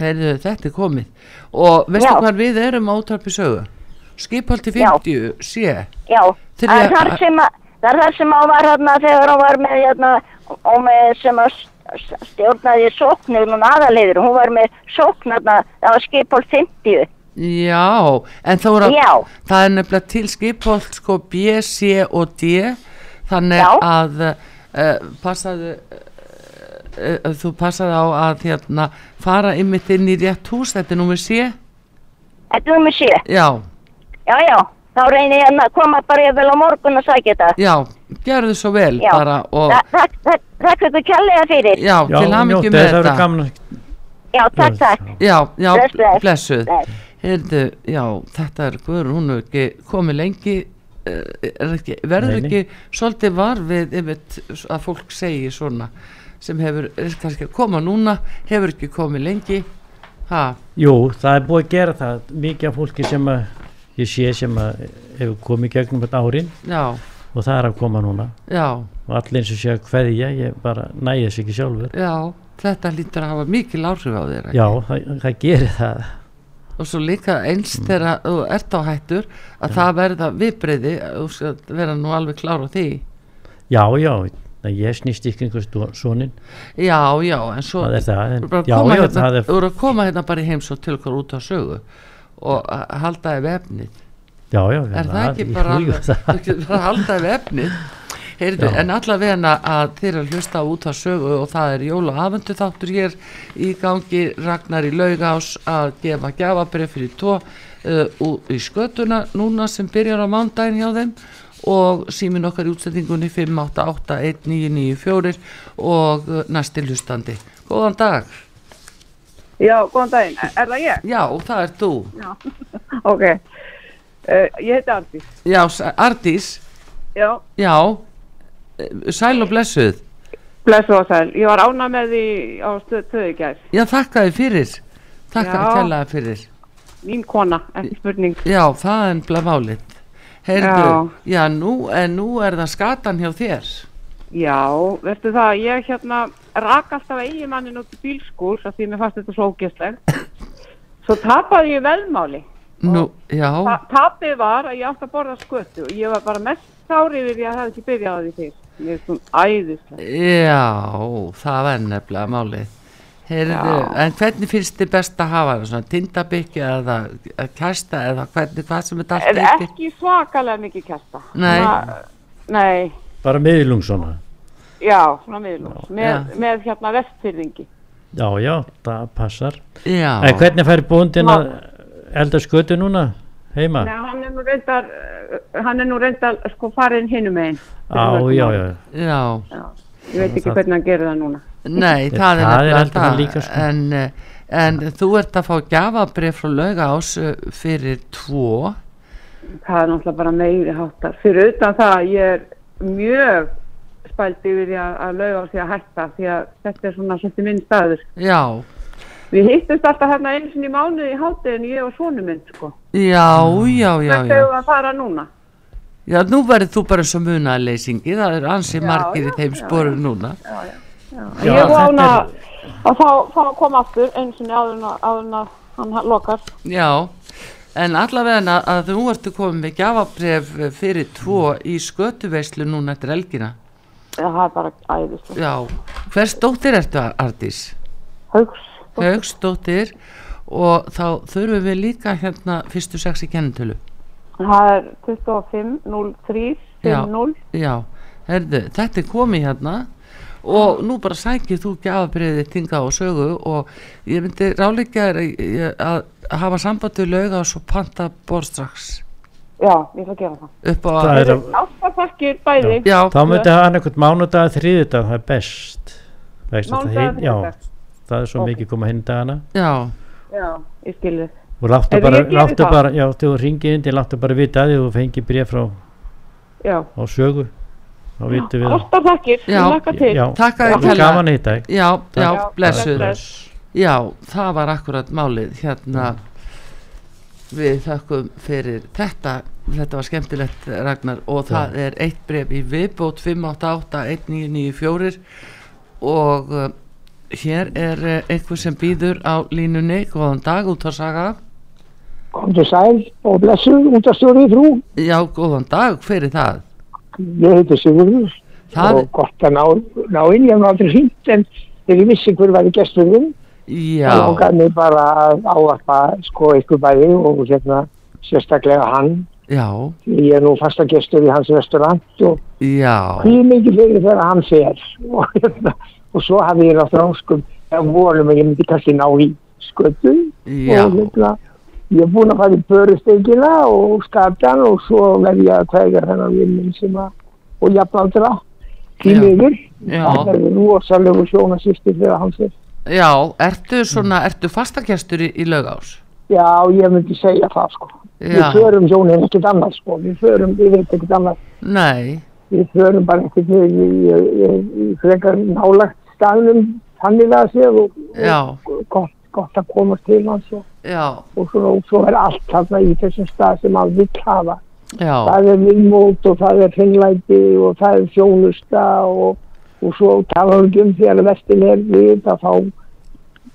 Erðu, þetta er komið og veistu
Já.
hvað við erum á útarpi sögu? Skipaldi 50 sé
Já,
Þriðja-
það er þar sem að, það er þar sem hún var hérna þegar hún var með hérna og með sem að s- stjórnaði sóknir, hún aðalegður, hún var með sókn hérna, það var skipól 50.
Já, en þá er að
Já.
það er nefnilega til skipolt sko B, C og D þannig
Já.
að uh, passaðu uh, þú passaðu á að hérna, fara ymmit inn í rétt hús þetta er númer C
Þetta er mér sé,
já,
já, já, þá reynir ég hérna að koma bara yfir vel á morgun og sækja þetta.
já, gerðu svo vel
Já,
bara og
Þa- þakk- þakk þakk ykkur kjallega fyrir.
já,
já,
til hamingjum
njótið,
með
það
þetta
verður gaman að
Já, takk, takk.
já, já,
Bless, bless.
blessuð
Bless.
Heyrðu, já, þetta er Guðrún, hún er ekki komið lengi eh, er ekki, verður
Nei, nei.
ekki svolítið var við einmitt s- að fólk segi svona sem hefur, er kannski að koma núna hefur ekki komið lengi ha,
Jú, það er búið að gera það mikið af fólki sem að ég sé sem að hefur komið í gegnum þetta árin
já,
og það er að koma núna
já,
og allir eins og sé að hverja ég bara næja þessu ekki sjálfur
já þetta lítur að hafa mikil áhrif á þér ekki?
Já, það, það gerir það
og svo líka eins
Mm.
þegar þú ert á hættur að það verða viðbreyði þú skal vera nú alveg klár á því
Já, já, það ég snýst ykkur einhvers sonin,
já, já, en svo
það er það en,
Þú eru
Já,
að,
já,
hérna,
það er,
þú eru að koma hérna bara í heims og til okkar út á sögu og að halda ef efnið
já, já
er það ekki
ég-
bara,
jú, jú,
alveg- þú
það-
getur bara að halda ef efnið Heyrðu,
Já.
en allavega að þeir eru að hlusta á út á sögu og það er jól og afendu þáttur hér í gangi Ragnar í laugás að gefa gjafabrið fyrir tvo uh, ú- í skötuna núna sem byrjar á mándaginn hjá þeim og símin okkar í útsendingunni 5881994 og uh, næsti hlustandi. Góðan dag!
Já, góðan daginn. Er- Er það ég?
Já, það er þú.
Ok. Uh, ég heiti Arndís.
Já, S- Ardís,
Já,
já, eh, sæl og blessuð.
blessu og sæl. Ég var ána með því á stöðu töðu gær.
Já, þakka þið fyrir. Þakka
Já.
þið kærlega fyrir.
Mín kona, ekki spurning.
Já, það er ennbla málið. Heyrðu, já, nú, en nú er það skatan hjá þér.
Já, veistu það, ég hérna rak alltaf eigimannin út í bílskúr af því mér fannst þetta svo ógeðsleg. Svo tapaði ég veðmáli.
Nú, já,
Ta tapið var að ég átti að borða skötu og ég var bara mest sár yfir því að það ekki byrjaði á því fyrst. Mér er svona æðislega.
já, það er nefnilega málið. Heyrðu, en hvernig finnst þið best að hafa það? Svona tindabykki eða eða kæsta eða hvernig, hvað sem þetta
En
allt heitir?
ekki svakalega mikið kesta.
Nei.
Nei.
Bara miðlung svona
já, svona miðlunars, með,
Já.
með hérna vestfyrðingi.
já, já, það passar
já.
en hvernig fær bóndin að elda skötu núna heima
Nei, hann er nú reyndar, eh, hann er nú reyndar sko farin hinum einn.
á, já, já,
já.
Ég veit ekki
Það-
hvernig hann gerir það núna.
Nei,
Nei,
það
það
er
er
nefnilega
aldrei
það.
líka, sko.
en, eh, en þú ert að fá gjafabrif frá laugás eh, fyrir tvo
Það er náttúrulega bara meiri háttar. Fyrir utan það, að ég er mjög spælt yfir því að, að lauga á því að hætta því að þetta er svona svolítið minn staður.
Já,
Við hittumst alltaf hérna einu sinni í mánuði í hátteginu, ég og svonu minn, sko.
já, já, já,
Hvert
já.
hefur að fara núna?
Já, nú verður þú bara eins og munaleysingi, það eru ansi
Já,
margir í
já,
þeim
já,
sporum núna.
En
Já,
ég
þetta
vona að fá, fá að koma aftur einu sinni áður en að- áður en að hann ha- lokar.
Já, en allavega að, að þú ertu komið með gjafabrif fyrir tvo í skötuveislu núna eftir elgina.
Já, það er bara æðislega.
Já, hvers dóttir ertu Ardís?
Haugs.
Haugsdóttir og þá þurfum við líka hérna fyrstu sex í kennitölu.
Það er 25 03
Já.
50.
Já, herðu, þetta er komið hérna og nú bara sækir þú gjafabriðið tinga og sögu og ég myndi ráleika þér að- að að hafa sambandu lauga og svo panta borð strax
Já, ég ætla að gera það.
upp á
Það er að-
Átta þakkir bæði.
Já,
þá myndi hann einhvern mánudag þriðudag, það er best Vegst að það
Mánudagar,
hin- já,
þriðjudagar.
það er svo mikið koma hinn dagana
já,
Já, ég skilði.
og láttu
Heyrðu,
bara,
ég geri
láttu
það.
bara já, þegar þú ringið indi, láttu bara vita að því þú fengið bréf frá
Já.
á sögu þá vitum við
Átta þakkir.
Já.
Ég lakka til.
já,
Takk að þið
það var
kærlega.
gaman að hitta þig.
já, já,
Já,
blessuð
bless.
Já, það var akkurat málið hérna við þökkum fyrir þetta þetta var skemmtilegt Ragnar og það er eitt bref í viðbót 588-1994 og uh, hér er uh, einhver sem býður á línunni, góðan dag út að saga
Komdu sæl og blessu, útastjóri frú.
Já, góðan dag, hver er það?
Ég heiti Sigurður
Það-
og gott að ná, ná inn, ég hef nú aldrei hýnt en þegar ég vissi hver var í gesturinn,
Já,
þá langaði mig bara að ávarpa sko ykkur bæði og hérna sérstaklega hann.
já,
Ég er nú fasta gestur í hans restaurant og
já
hví mikið fyrir þegar hann fer og hérna, og svo hafi ég náttúrulega óskum eða volum að ég myndi kannski ná í sköpun
Já,
og hérna ég er búinn að fara í börusteikina og skatan og svo verð ég að kveðja þennan vinn minn sem að og jafnaldra
Já.
því miður
Já.
það er rosalegu sjónasýstir þegar hann sér
já, ertu svona, ertu fastakestur í, í laugás?
já ég myndi segja það sko
Já.
við förum hjónin ekkert annað sko við förum, við veit ekkert annað
Nei,
við förum bara ekkert í, í, í, í, í frekar nálagt staðnum þannig að sér og,
já,
og gott, gott að komast til hans og,
já,
og svo, svo er allt þarna í þessum stað sem hann vill hafa
já,
það er vinnmót og það er hreinlæti og það er sjónusta og, og svo talar við um þegar vestin er við að þá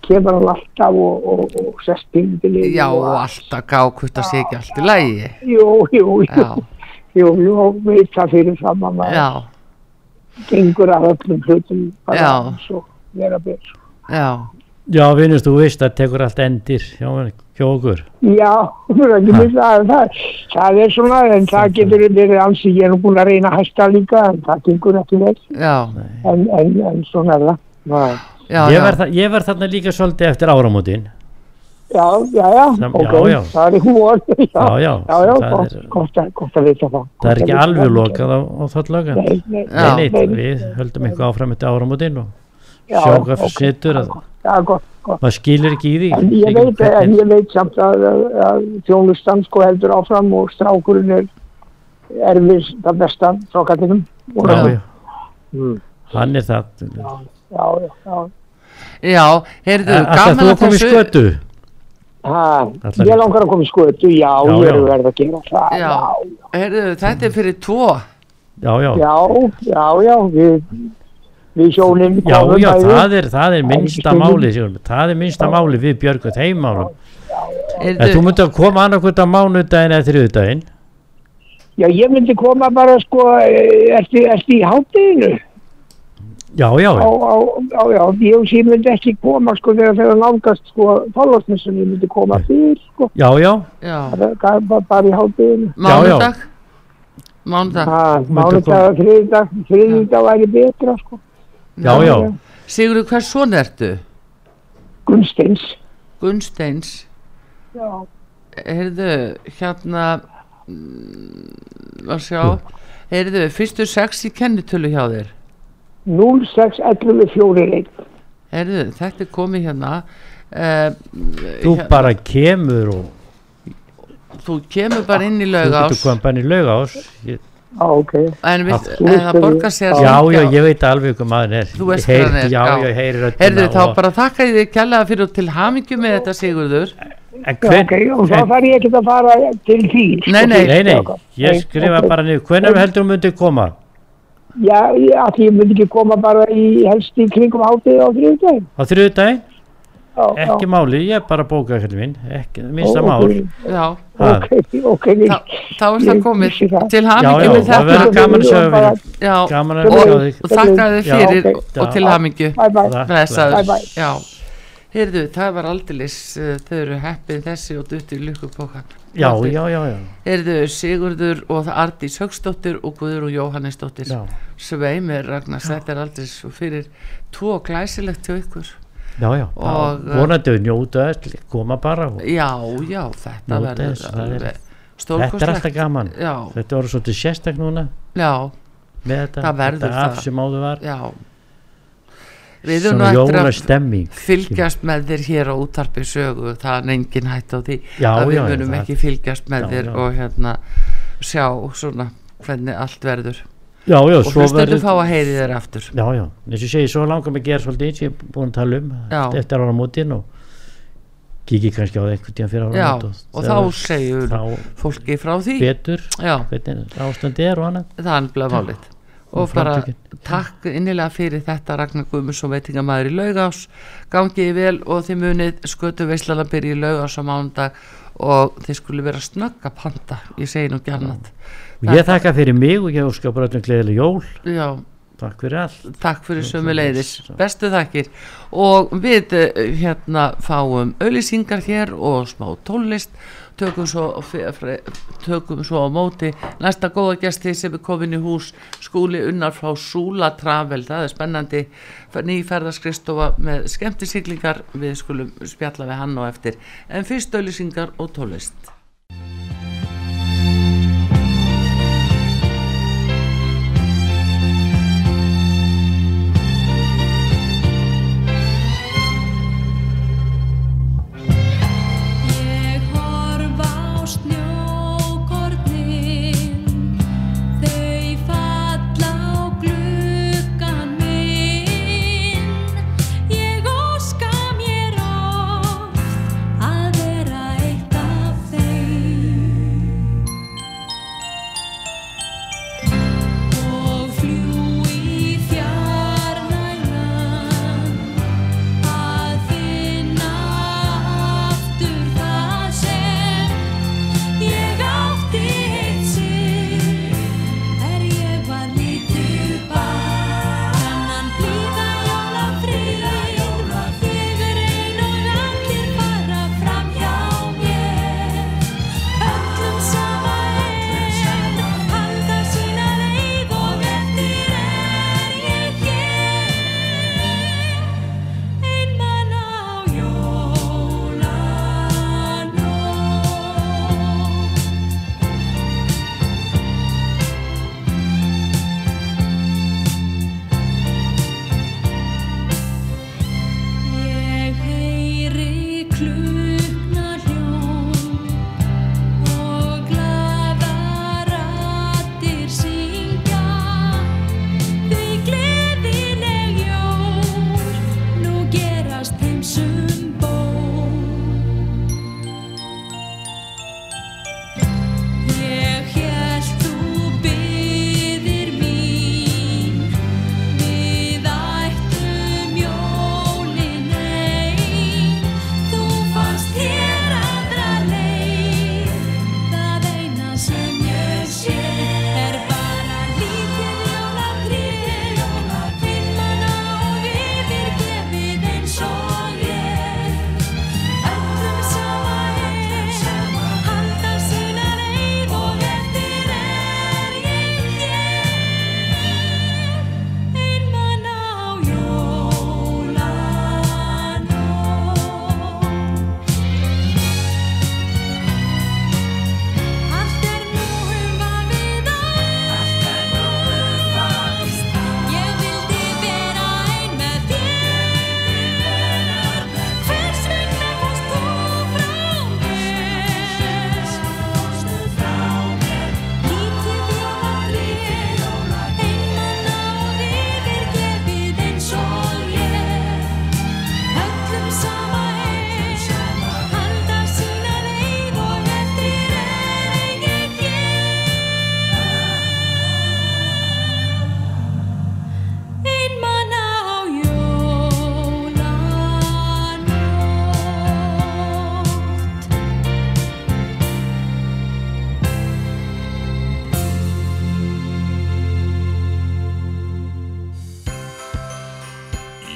kemur hann alltaf og, og, og sest pingdinni
já, og alltaf gákvist að sé ekki allt í lægi
Jú, jú, jú,
Já,
jú, jú, og veit það fyrir fram að maður
já,
gengur að öllum hlutum bara
Já.
eins og vera byrð.
já,
já, vinnust, þú veist að tekur allt endir hjá, hjá okkur
Já, þú er ekki missa að það, það er svona, en það getur verið ansi, ég er nú búin að reyna að hæsta líka, en það gengur ekki vel,
já,
en, en, en svona er það. Næ.
já,
ég
já,
var, þa- ég var þarna líka svolítið eftir áramótin
Já, já, já,
Sem-
ok,
já, já.
það er húor,
Já, já,
já, já
það
gott,
er-
gott, að, gott að vita það.
það er ekki
Gott að vita
alveg
það.
lokað á, á það laga
Nei, nei,
Já.
nei,
nei,
nei, við höldum eitthvað áfram eftir áramótin og
Já,
sjáum hvað
ok.
okay. setur að
já, gott, gott.
maður skilur ekki í því um
En sko. ég,
ekki
veit, en
hvernig-
ég veit samt að, að, að þjónustan sko heldur áfram og strákurinn er erfið það besta frá kattinum.
já,
Já.
já. hann er það
Já, já, já.
já, heyrðu,
alltaf
gaman
þú
að
komið
þessu
skötu
Ha,
Allar-
ég langar að koma í skoðu, já,
Já,
ég er
já.
verið að gera það,
Já.
já,
Heyrðu, þetta er fyrir tvo
já, já, já,
já, já, já, við, við hjónin
já,
komum bæði.
það, er, það er minnsta
Ekki
máli Sigurður, það er minnsta máli við björgum þeim málum en þú
Heyrðu,
myndi að koma annarkvöld á mánudaginn eða þriðudaginn
Já, ég myndi koma bara sko, eh, ertu, ertu í hátteginu?
já, já,
Já, já, já, já, ég, ég myndi ekki koma sko þegar þegar nálgast sko Þorlásnir sem ég myndi koma fyrr sko,
já, já
já,
bara, bara í hátteginu.
mánudag mánudag
Mánudag og þriðdag, þriðdag væri betra sko.
Já, já. Sigurður, hvers son ertu?
Gunnsteins.
Gunnsteins.
Já.
Heyrðu, hérna, mm, að sjá, heyrðu, fyrstu sex í kennitölu hjá þér.
06114
Heyrðu, þetta er komið hérna. Uh,
Þú bara kemur og
Þú kemur bara inn í
þú getur
laugás.
komið bara í laugás Ég-
Á, ok.
En, við,
Þú
en það
veist
borgar sér
Já, já, ég veit alveg hvað maður er
Þú
Ég
veist
heyri-
hvað hann er,
Já, já, ég heyri röddina
Heyrðu, þá
og-
bara þakka ég þig kjallaða fyrir og til hamingju með þetta, Sigurður.
En hver-
Ok, og þá þarf ég ekki að fara til því. sko.
Nei, nei.
Nei, nei,
Nei,
ég skrifa
ok.
bara niður Hvenær heldur hún myndi koma?
Já, ég, að ég myndi ekki koma bara í helst í kringum hátið á þriðdaginn.
Á þriðudaginn?
Já,
Ekki máli, ég er bara að bóka hérna minn Ekki, minnsta
Ó,
mál
ok.
Já.
Ha.
Ok, ok. Þá,
þá er það komið. Til
Já, já,
hamingju
það
með þetta.
verður gaman að sjá þig.
Já,
Gaman að
og,
sjá
og,
þig.
þakka þið
Já,
fyrir
ok.
og til
Já.
hamingju.
Bye, bye.
Blessaður.
Bye, bye.
Já. Heyrðu, það var aldeilis, uh, þau eru heppin þessi og dutt í lukkupokan.
Já, já, já, já
Heyrðu, Sigurður og það Ardís Högstóttir og Guður og Jóhannesdóttir.
Já.
Sveimir Ragnars, þetta er aldeilis og fyrir tvo glæsilegt hjá ykkur.
Já, já,
Og, eh,
bara vonandi að njóta þess, koma bara og
Já, já, þetta
Njóta
verður
þess, það er-
alveg
Þetta er alltaf
stórkostlegt.
gaman
Já,
Þetta voru svolítið sérstak núna
já.
með þetta,
það verður
þetta af
það
sem áður var
já við erum
Svona
nú eftir að
jólastemming.
fylgjast með þér hér á útarpi sögu það er engin hætt á því
Já,
að við
já, já,
munum
það-
ekki fylgjast með
Já,
þér
já.
og hérna sjá svona hvernig allt verður
Já, já,
og
svo verður-
hlustendur fá að heyri þér aftur
Já, já, eins og ég segi, svo langar mig að gera svolítið eins og ég er búin að tala um
Já.
eftir ára mótin og kíkja kannski á það einhvern tíðan fyrir ára
já,
mót
og þá segjum fólki frá því
betur
já.
hvernig ástandi er og annað
það er nefnilega málið og
Og
bara
framtökin.
takk innilega fyrir þetta Ragnar Guðmunds og veitingamæður í laugás gangið vel og þið munið skötu veislana byrja í laugás á mándag og þið skulle vera snögg að panta ég segi nú gjarnat
Ég þakka fyrir mig og ég óska bara öllum gleðileg jól
Já,
Takk fyrir allt
takk fyrir sömu leiðis bestu þakkir og við eh, hérna fáum auðlýsingar hér og smá tónlist tökum svo, fe- fre- tökum svo á móti næsta góða gesti sem er komin í hús skúli unnar frá Súla Travel það er spennandi nýferðarskristofa með skemmtisiglingar við skulum spjalla við hann á eftir en fyrst auðlýsingar og tónlist
Ég horf á snjókornin, þau falla á gluggan minn. Ég óska mér oft að vera eitt af þeim.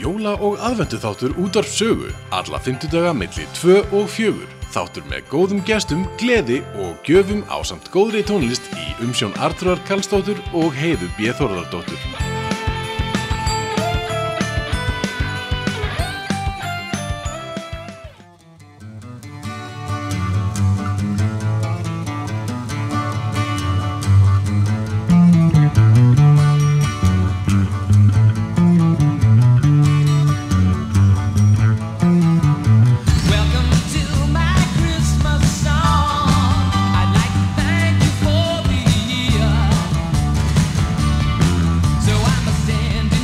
Jóla og aðvendu þáttur útvarf sögu alla fymtudaga milli 2 og 4 þáttur með góðum gestum, gleði og gjöfum á samt góðri tónlist í umsjón Artrar Karlsdóttur og Heiðu B. Þorðardóttur
Welcome to my Christmas song. I'd like to thank you for the year. So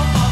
Oh.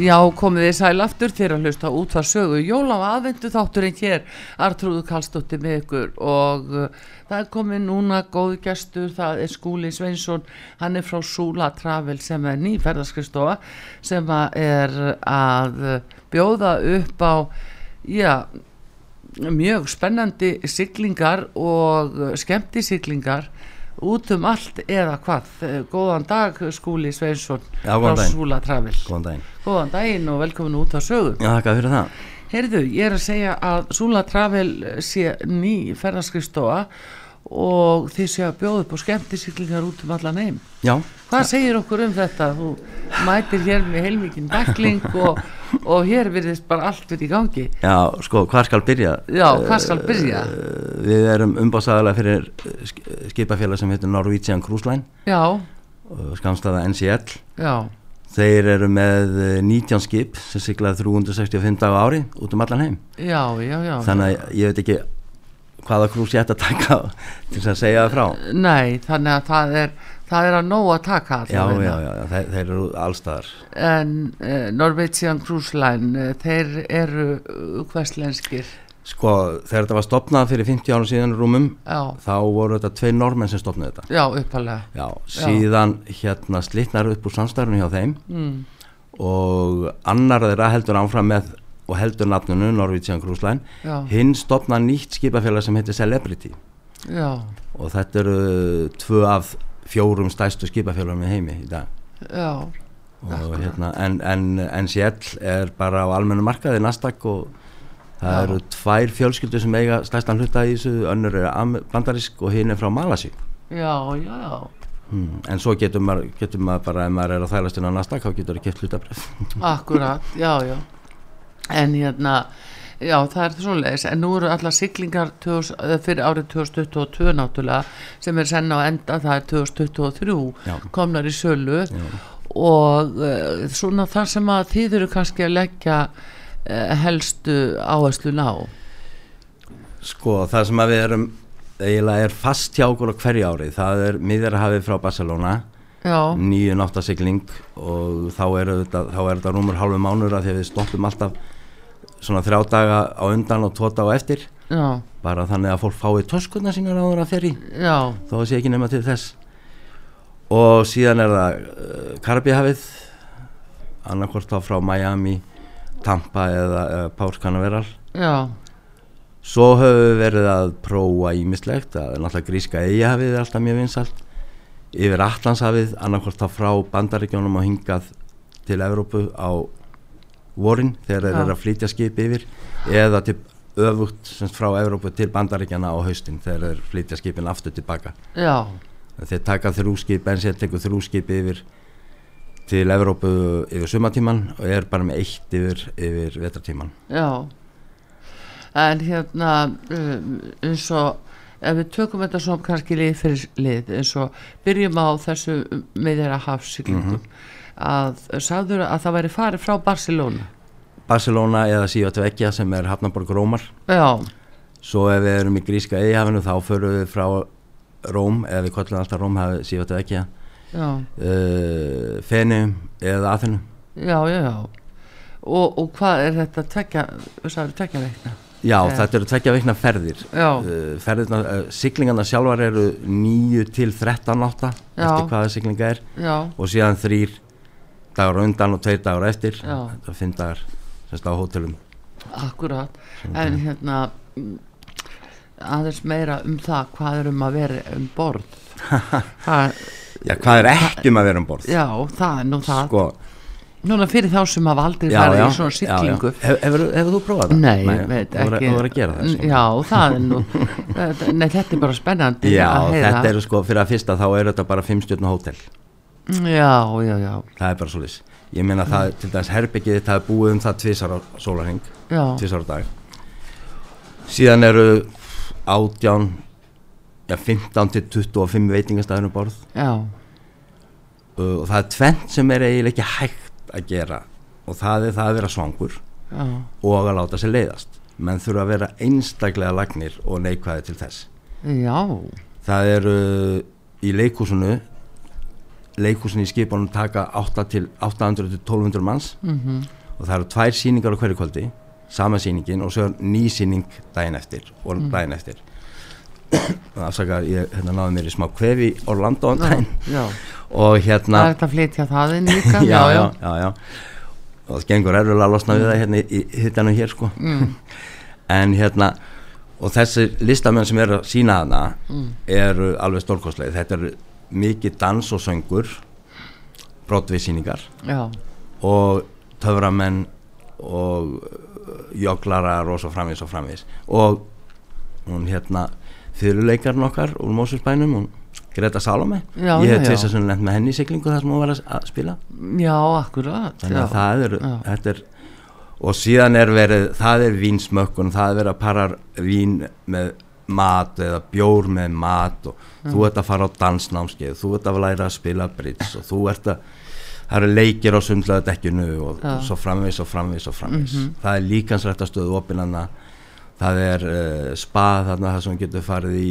Já, komið þið sæl aftur þegar að hlusta á útvar sögu Jóla og aðvendu þátturinn hér Artrúðu Kallstóttir með ykkur og uh, það er komið núna góð gestur, það er Skúli Sveinsson hann er frá Súla Travel sem er nýferðarskristofa sem að er að uh, bjóða upp á já, mjög spennandi siglingar og uh, skemmtisiglingar út um allt eða hvað Uh, Góðan dag Skúli Sveinsson
Já, góðan
frá
daginn.
Súla Travel
Góðan daginn.
Góðan daginn og velkomin út á sögu.
Já, þakka fyrir það.
Heyrðu, ég er að segja að Súla Travel sé ný ferðarskristofa og þið séu að bjóða upp á skemmtisiklingar út um allan heim.
Já,
Hvað segir okkur um þetta? Þú mætir hér með heilmikinn bakling og, og hér virðist bara allt verið í gangi.
já, sko, hvað skal byrja?
Já, hvað skal byrja?
Eh, Við erum umbásaðalega fyrir eh, sk- eh, skipafélag sem heitir Norwegian Cruise Line,
Já,
eh, skamstaða NCL.
já,
Þeir eru með eh, 19 skip sem siglaði 365 dag á ári út um allan heim.
já, já, já.
Þannig að ég veit ekki hvaða krús ég ætti að taka til þess að segja það frá.
Nei, þannig að það er, það er að nóg að taka
Já,
allavega.
já, já, já, þeir, þeir eru allstaðar.
En uh, Norwegian Cruise Line, eh, þeir eru uh, hverslenskir.
Sko, þegar þetta var stopnað fyrir 50 árum síðan rúmum,
Já.
þá voru þetta tvei normenn sem stopnaði þetta.
Já, uppalega.
Já, síðan hérna slitnar upp úr samstarfinu hjá þeim
Mm.
og annar þeirra heldur áfram með og heldur nafnunu Norwegian Cruise Line
Já.
hinn stopna nýtt skipafélag sem heitir Celebrity
Já,
og þetta eru tvö af fjórum stæstu skipafélagum í heimi í dag
já,
og, hérna, en, en NCL er bara á almennu markaði Nasdaq og það
Já.
eru tvær fjölskyldur sem eiga stæstan hluta í þessu önnur er am- bandarísk og hinn er frá Malasi
já, já.
Hmm, en svo getur maður, getur maður bara ef maður er að þælast inn á Nasdaq þá getur það keft hlutabrif
Akkurat, já, já En hérna, já, það er svoleiðis En nú eru allar siglingar 2000, eh, fyrir árið 2022 náttúrulega sem er senn á enda, það er 2023
Já.
komnar í sölu og uh, svona þar sem að þið eru kannski að leggja uh, helstu áherslu ná
sko það sem að við erum eiginlega er fast hjá okkur á hverju ári það er miðjarhafið frá Barcelona
Já.
nýju náttasigling og þá er þetta, þá er þetta rúmur hálfu mánur af því að við stoppum alltaf svona þrjá daga á undan og tvo daga á eftir
Já.
bara þannig að fólk fái töskunna sína ráður að ferri
Já.
þó það sé ekki nema til þess og síðan er það uh, Karabíhafið annarkvort þá frá Miami Tampa eða uh, Párs Canaveral
Já.
svo höfum við verið að prófa ímislegt að náttúrulega gríska eigahafið er alltaf mjög vinsalt yfir Allandshafið annarkvort þá frá bandaríkjónum og hingað til Evrópu á vorin þegar þeir
Já.
eru að flytja skip yfir eða til öfugt sem sagt, frá Evrópu til bandaríkjana á haustin þegar þeir flytja skipin aftur tilbaka
Já.
þeir taka þrjú skip en sér tekur þrjú skip yfir til Evrópu yfir sumatíman og er bara með eitt yfir, yfir vetratíman
Já En hérna um, eins og ef við tökum þetta svona kannski lið fyrir lið eins og byrjum á þessu með þeirra hafsiglingum að sagður að það væri farið frá Barcelona
Barcelona eða Sývatveggja sem er Hafnaborg Rómar
Já.
svo ef við erum í gríska eigihafinu þá förum við frá Róm eða við kollum alltaf Róm hafið Sývatveggja
Já.
uh, Fenu eða Aþenu
Já, já, já Og, og hvað er þetta tvekja, sagður tvekja veikna?
Já,
Eh,
þetta eru tveggja veikna ferðir
Já.
uh, ferðirna, uh, Siglingarna sjálfar eru 9 til 13 átta
Já.
eftir hvaða siglinga er
Já.
og síðan þrýr dagur á undan og tveir dagur eftir
Já.
þetta er fimm dagar semst á hótelum
Akkurat En hérna mm, aðeins meira um það hvað er um að vera um borð Það-
Já, hvað er ekki um að vera um borð?
Já, það er nú það
Sko,
Núna fyrir þá sem hafa aldrei
Já,
farið
já,
í svona
já, já.
siglingu
Hef- hefur- hefur þú prófað það?
Nei,
Nei,
ég veit
þú verður-
ekki
þú verður að gera það, sko.
Já, það er nú þetta- Nei, þetta er bara spennandi
já,
að heyra.
þetta eru sko fyrir að fyrsta þá er þetta bara fimmstjörnu hótel
Já, já, já
það er bara svolítið ég meina það, til dæmis herbyggið það er búið um það tvisar á sólarhing
Já.
tvisar á dag síðan eru átján já, 15 til 25 veitingastæðunum um borð
Já.
og það er tvent sem er eiginlega ekki hægt að gera og það er það að vera svangur
Já.
og að láta sér leiðast menn þurfa að vera einstaklega lagnir og neikvæði til þess
Já,
það eru í leikúsinu uh, leikhúsin í skipunum taka 8 til 800 til 1200 manns
Mhm.
og það eru tvær síningar á hverju kvöldi sama síningin og svo er ný síning daginn eftir og
Mhm.
daginn eftir afsaka, ég hérna náði mér í smá kvefi Orlando á
Já,
daginn
já.
og hérna
það er hægt að flytja það inn líka
já, já, já, já og það gengur erfiðlega að losna við það hérna í hittanu hér sko
Mm.
en hérna og þessi listamenn sem eru að sína hana
Mm.
eru alveg stórkostlega þetta eru mikið dans og söngur brotviðsýningar
Já.
og töframenn og uh, joglarar og svo framvís og framvís og hún hérna fyrirleikarinn okkar úr Mósusbænum hún Greta Salome
Já,
ég hef
já, já.
tvisað sem nefnt með henni í siglingu þar sem hún var að, að spila
já, akkurat
þannig
já.
að það er,
Já.
þetta er og síðan er verið, það er vínsmökkun það er verið að para vín með mat eða bjór með mat og
Mm.
þú ert að fara á dansnámskeið þú ert að læra að spila brits og þú ert að, það eru leikir á sundlaðu dekkinu og
Já.
svo framvis og framvis og framvis,
Mhm.
það er líkansrættastöð opinanna, það er uh, spa þarna þar sem þú getur farið í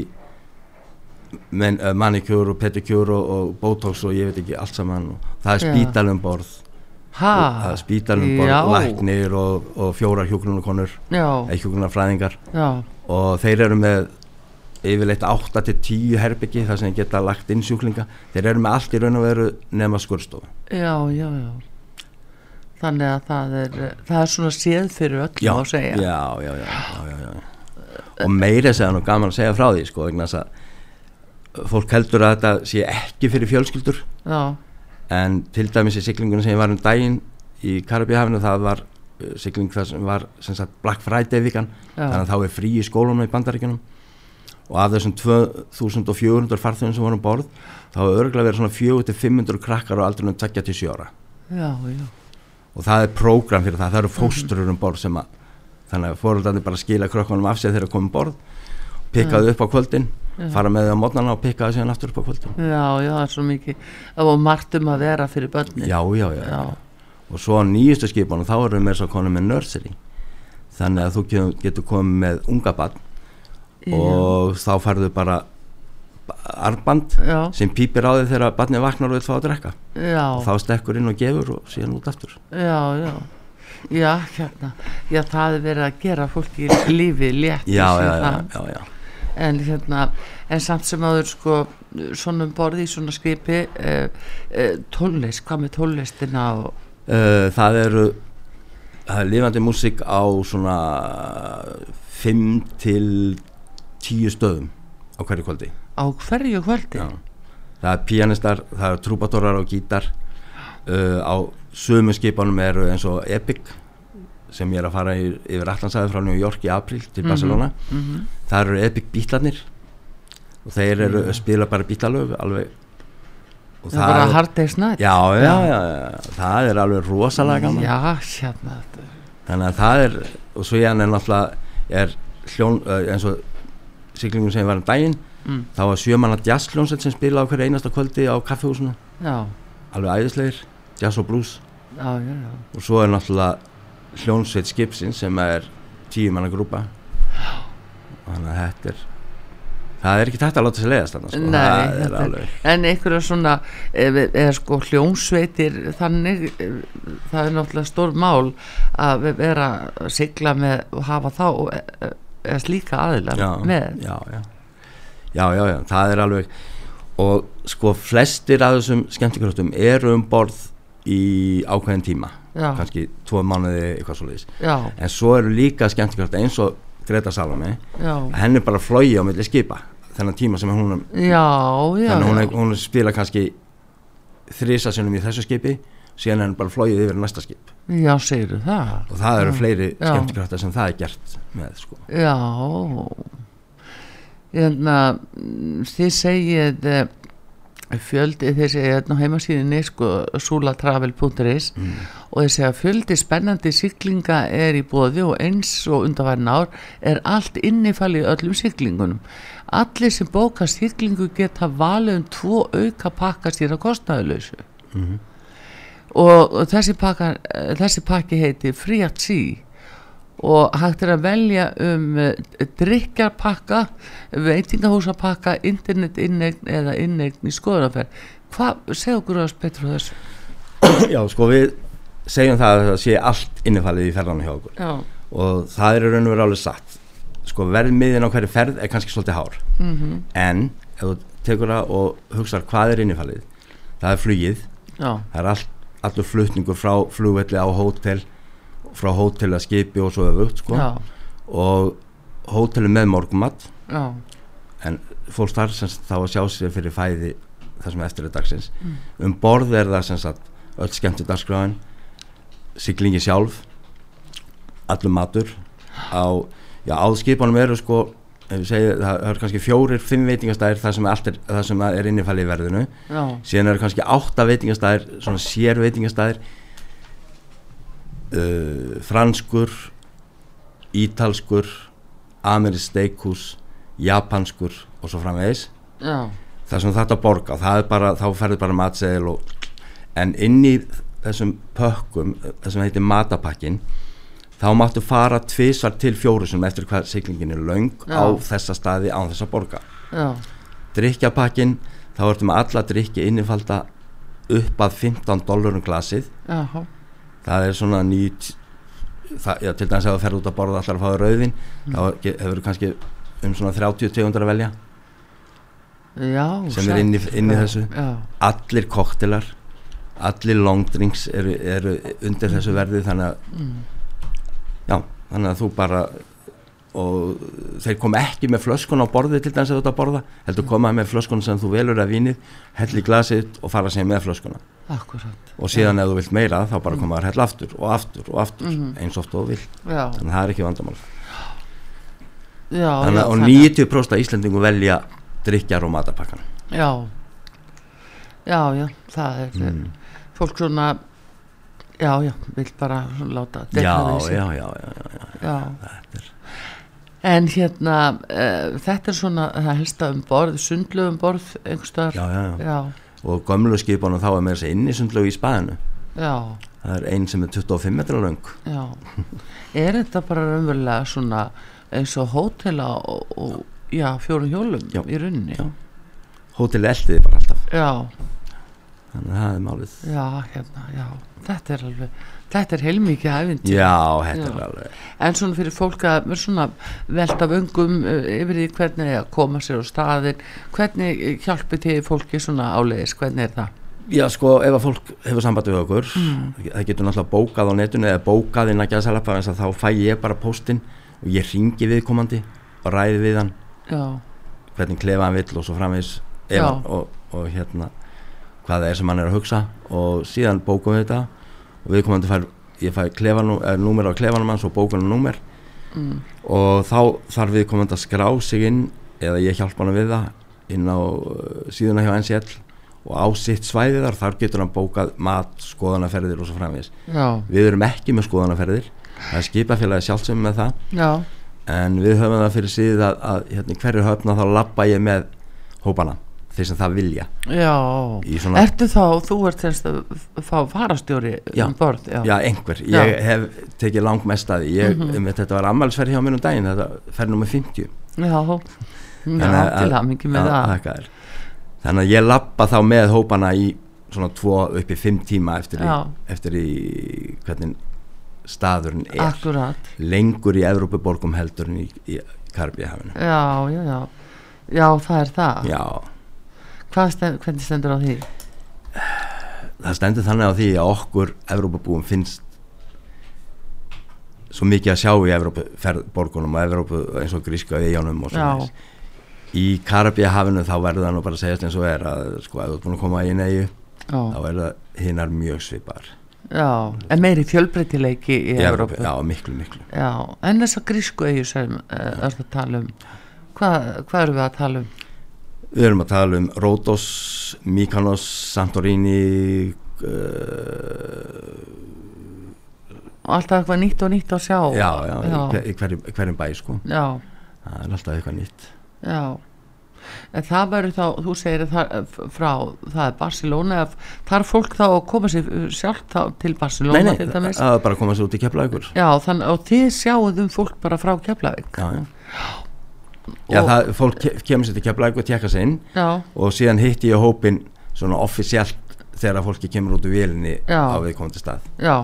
men, uh, manikjúr og pedikjúr og, og botox og ég veit ekki allt saman og það er
Já.
spítalum borð
Ha?
Og það er spítalum
Já.
borð, læknir og, og fjórar hjúgrunarkonur
Já.
eða hjúgrunarfræðingar
Já.
og þeir eru með yfirleitt 8 til 10 herbyggi þar sem þeir geta lagt inn sjúklinga þeir eru með allt í raun og veru nema skurstofu
já, já, já þannig að það er það er svona séð fyrir öll
já,
má segja
já, já, já, já, já, já. og meira segja nú gaman að segja frá því sko, vegna þess að fólk heldur að þetta sé ekki fyrir fjölskyldur
Já.
en til dæmis í siglingunum sem ég var um daginn í Karabíhafinu það var uh, sigling það sem var sem sagt, Black Friday vikan
Já.
þannig að þá er frí í skólunum í bandaríkjunum og af þessum 2400 farþjóðum sem voru um borð þá hefur örgulega verið svona 400-500 krakkar á aldrinum 27 ára
já, já.
og það er prógram fyrir það, það
Mhm.
eru fóstrur um borð sem að þannig að fóröldandi bara skila krökkunum af sér þegar þeir koma um borð pikkaðu
Já.
upp á kvöldin,
Mm. Já.
fara með þau á mótnana og pikkaðu síðan aftur upp á kvöldin
já, já, það er svo mikið það var margt um að vera fyrir börni
já, já, já, og svo á nýjustu skipunum þá erum við með svo konum með nursery þannig að þú getur, getur komið með unga barn
Já.
og þá færðu bara arband
Já.
sem pípir á þig þegar barnið vaknar og vil fá að drekka
Já.
og þá stekkur inn og gefur og síðan út aftur
já, já já, hérna, já, það er verið að gera fólki lífið létt ég
Já, já,
sé
já,
það.
já, já.
en hérna, en samt sem áður sko, svona um borði í svona skipi eh, eh, tónlist, hvað með tónlistina og,
Uh, það eru það er lifandi músík á svona 5 til 10 stöðum á hverju kvöldi
á hverju kvöldi
Já. það er pianistar, það eru trúbatórar og gítar uh, á sömu skipanum eru eins og Epic sem ég er að fara í, yfir allansæði frá New York í april til
Mhm,
Barcelona
mhm.
það eru Epic bítlarnir og þeir eru,
Mhm.
spila bara bítlalög alveg og
Það er bara Hard Day's Night.
já, já,
Já. Mm,
já, já, það er alveg rosalega gaman
já, hérna þetta er-
þannig að það er og svo ég hann er náttúrulega er hljón, eh, eins og siglingum sem ég var um daginn
Mm.
þá var sjömanna jazzljónsett sem spila á hverju einasta kvöldi á kaffehúsinu
Já.
alveg æðislegir, jazz og blues
já, já, já,
og svo er náttúrulega hljónsveit skipsin sem er tíu manna grúpa þannig að þetta er það er ekki tætt að láta sér leiðast þannig sko.
Nei,
það er
þetta er-
alveg
en einhverja svona eða er sko hljómsveitir þannig, eh, það er náttúrulega stór mál að ve- vera að sigla með og hafa þá eh, eh, eða slíka aðila
já,
með
já. já, já, já, það er alveg og sko flestir af þessum skemmtikröftum eru um borð í ákveðin tíma
Já.
kannski tvo mánuði eitthvað svo leiðis
Já.
en svo eru líka skemmtikröft eins og Greta Salome
Já.
henn er bara flogi á milli skipa þennan tíma sem hún
Já,
þannig
já,
að hún,
já.
er, hún spila kannski þrisa sinum í þessu skipi síðan er henn bara flogið yfir í næsta skip
já, segirðu það
og það eru
Já.
fleiri
Mm. Já.
skemmtikröftar sem það er gert með sko
Já hérna, mm, þið segið eh, fjöldi, þið segið hérna á heimasíðinni sko, sulatravel.is og þið segja fjöldi spennandi siglinga er í bóði og eins og undanværin ár er allt innifalið í öllum siglingunum allir sem bóka siglingu geta valið um tvo auka pakka sér að kostnaðuleysu
Mhm.
og, og þessi, pakka, eh, þessi pakki heiti Free at Sea og hægt er að velja um uh, drikjarpakka, veitingahúsapakka, internetinneign eða inneign í skoðunarferð. Hvað, segðu okkur aðeins betur frá þessu
Já, sko við segjum það að það sé allt innifalið í ferðanum hjá okkur
Já.
og það er í raun og veru alveg satt sko verðmiðin á hverju ferð er kannski svolítið hár
Mhm.
en ef þú tekur það og hugsar hvað er innifalið það er flugið
Já.
það er all, allur flutningur frá flugvelli á hótel frá hótel að skipi og svo öfugt sko
Já.
og hótelu með morgumat
Já.
en fólk þar sem sagt þá að sjá sér fyrir fæði það sem er eftir er dagsins
Mm.
um borð er það sem sagt öll skemmti dagskráin siglingi sjálf allur matur á, já, á skipunum eru sko ef ég segi, það eru kannski fjórir, fimm veitingastæðir þar sem, allt er, þar sem það er innifæli í verðinu
Já.
síðan eru kannski átta veitingastæðir svona sér veitingastæðir uh, franskur ítalskur amerist steakhús japanskur og svo framvegis
Já.
það sem þetta borga það er bara, þá ferður bara matseðil og, en inn í þessum pökkum þessum heitir matapakkin þá máttu fara tvisvar til fjóru sem eftir hvað siglingin er löng
Já.
á þessa staði án þess að borga
Já.
drikkjapakkin þá ertu með alla drikki innifalda upp að 15 dollurum glasið
Jaha.
það er svona nýt það, já, til dæmis ef þú ferð út að borða allar að fá þér rauðin
Mm.
þá ge- hefur þú kannski um svona 30 tegundar að velja
Já,
sem er inn í,
sætt.
inn í
Já,
þessu
já.
allir koktelar allir long drinks eru, eru undir þessu verði þannig að
Mm.
já, þannig að þú bara og þeir kom ekki með flöskun á borðið til dæmis að þú ert að borða heldur koma með flöskun sem þú velur að vinið helli glasið og fara sér með flöskuna
Akkúrat. Mm.
og síðan ef þú vilt meira þá bara koma að hella aftur og aftur og aftur
Mhm.
eins oft og þú vilt
Já.
þannig að það er ekki vandamál
Já,
þannig,
já,
að- og
þannig
90% af Íslendingu velja drikjar og matapakkan
Já, já, já, það er
Mm.
fólk svona, já, já, vill bara láta detta
Já,
við sig.
já, já, já, já, já, já, þetta er-
En hérna, uh, þetta er svona það helsta um borð, sundlu um borð, einhverstaðar.
já, já, já.
Já,
og gömlu skipunum þá er með þessi innisundlög í spaðinu
já,
það er ein sem er 25 metra löng
já. er þetta bara raunverulega svona eins og hótela og, og já, fjórum hjólum í rauninni? Já,
hótel eldiði bara alltaf
já.
þannig að það er málið
Já, hérna, já, þetta er alveg, þetta er heilmikið æfinti.
Já, þetta er alveg.
En svona fyrir fólk að vera svona velta vöngum eh, yfir því hvernig er að koma sér á staðin, hvernig eh, hjálpið þið fólki svona áleiðis, hvernig er það?
Já, sko, ef að fólk hefur sambandi við okkur
Mm.
það getur náttúrulega bókað á netinu eða bókað inn að gæðsalapa eins að þá fæ ég bara póstinn og ég ringi viðkomandi og ræði við hann
Já.
hvernig klefa hann vill og svo framvegis ef
Já.
hann- og, og hérna hvað það er sem hann er að hugsa og síðan bókum við þetta og viðkomandi fær, ég fæ klefanum, er, númer á klefanum hans og bókunum númer
Mm.
og þá þarf við komandi að skrá sig inn eða ég hjálpa hann við það inn á uh, síðuna hjá NCL og á sitt svæði þar, þar getur hann bókað mat, skoðanaferðir og svo framvegis
Já.
við erum ekki með skoðanaferðir það er skipafélagi sjálfsum með það
Já.
en við höfum það fyrir síð að, að hérna, hverju höfna þá labba ég með hópana, þeir sem það vilja
Já,
Í svona-
ertu þá, þú ert semst að þá farastjóri um borð, já.
einhver,
Já.
ég hef tekið langmest að því ég, mm
Mhm.
þetta var ammælsferð hjá mér um daginn þetta ferð nummer 50
Já, já,
Þannig að-
til hamingi með
að-
það.
þakka þér. Þannig að ég lappa þá með hópana í svona tvo upp í fimm tíma eftir,
Já.
í, eftir í hvernig staðurinn er.
Akkúrat.
Lengur í Evrópuborgum heldur en í, í Karabíahafinu.
Já, já, já. Já, það er það.
Já.
Hvað stend, hvernig stendur á því?
Það stendur þannig á því að okkur Evrópabúum finnst svo mikið að sjá í Evrópuborgunum og Evrópu eins og gríska eigunum og
Já.
svona þess. Í Karabíahafinu þá verður það nú bara að segjast eins og er að sko, ef þú ert búin að koma í einu eigu
Já.
þá er það hinnar mjög svipar.
Já, en meiri fjölbreytileiki í
Í
Evrópu.
Evrópu, já, miklu, miklu.
Já, en þess að grísku eigu sem uh, er að tala um, hvað, hvað erum við að tala um?
Við erum að tala um Rótos, Mykonos, Santorini, uh,
Og alltaf eitthvað nýtt og nýtt að sjá.
já, já, í
já.
hver, í hverjum, hverjum bæ sko.
Já.
Það er alltaf eitthvað nýtt.
já. En það verður þá, þú segir að það, eh, f- frá, það er Barcelona, eða f- þarf fólk þá að koma sér sjálf þá til Barcelona
Nei, nei,
til
það
dæmis?
það er bara að koma sér út í keflaðugur.
Já, þann, og þið sjáuð um fólk bara frá Keflavík.
Já, já. Já, það, fólk ke- kemur sér til keflaðugur, tekka sér inn
Já.
og síðan hitti ég hópin svona offisjált þegar fólki kemur út úr vélinni
Já.
á viðkomandi stað
já,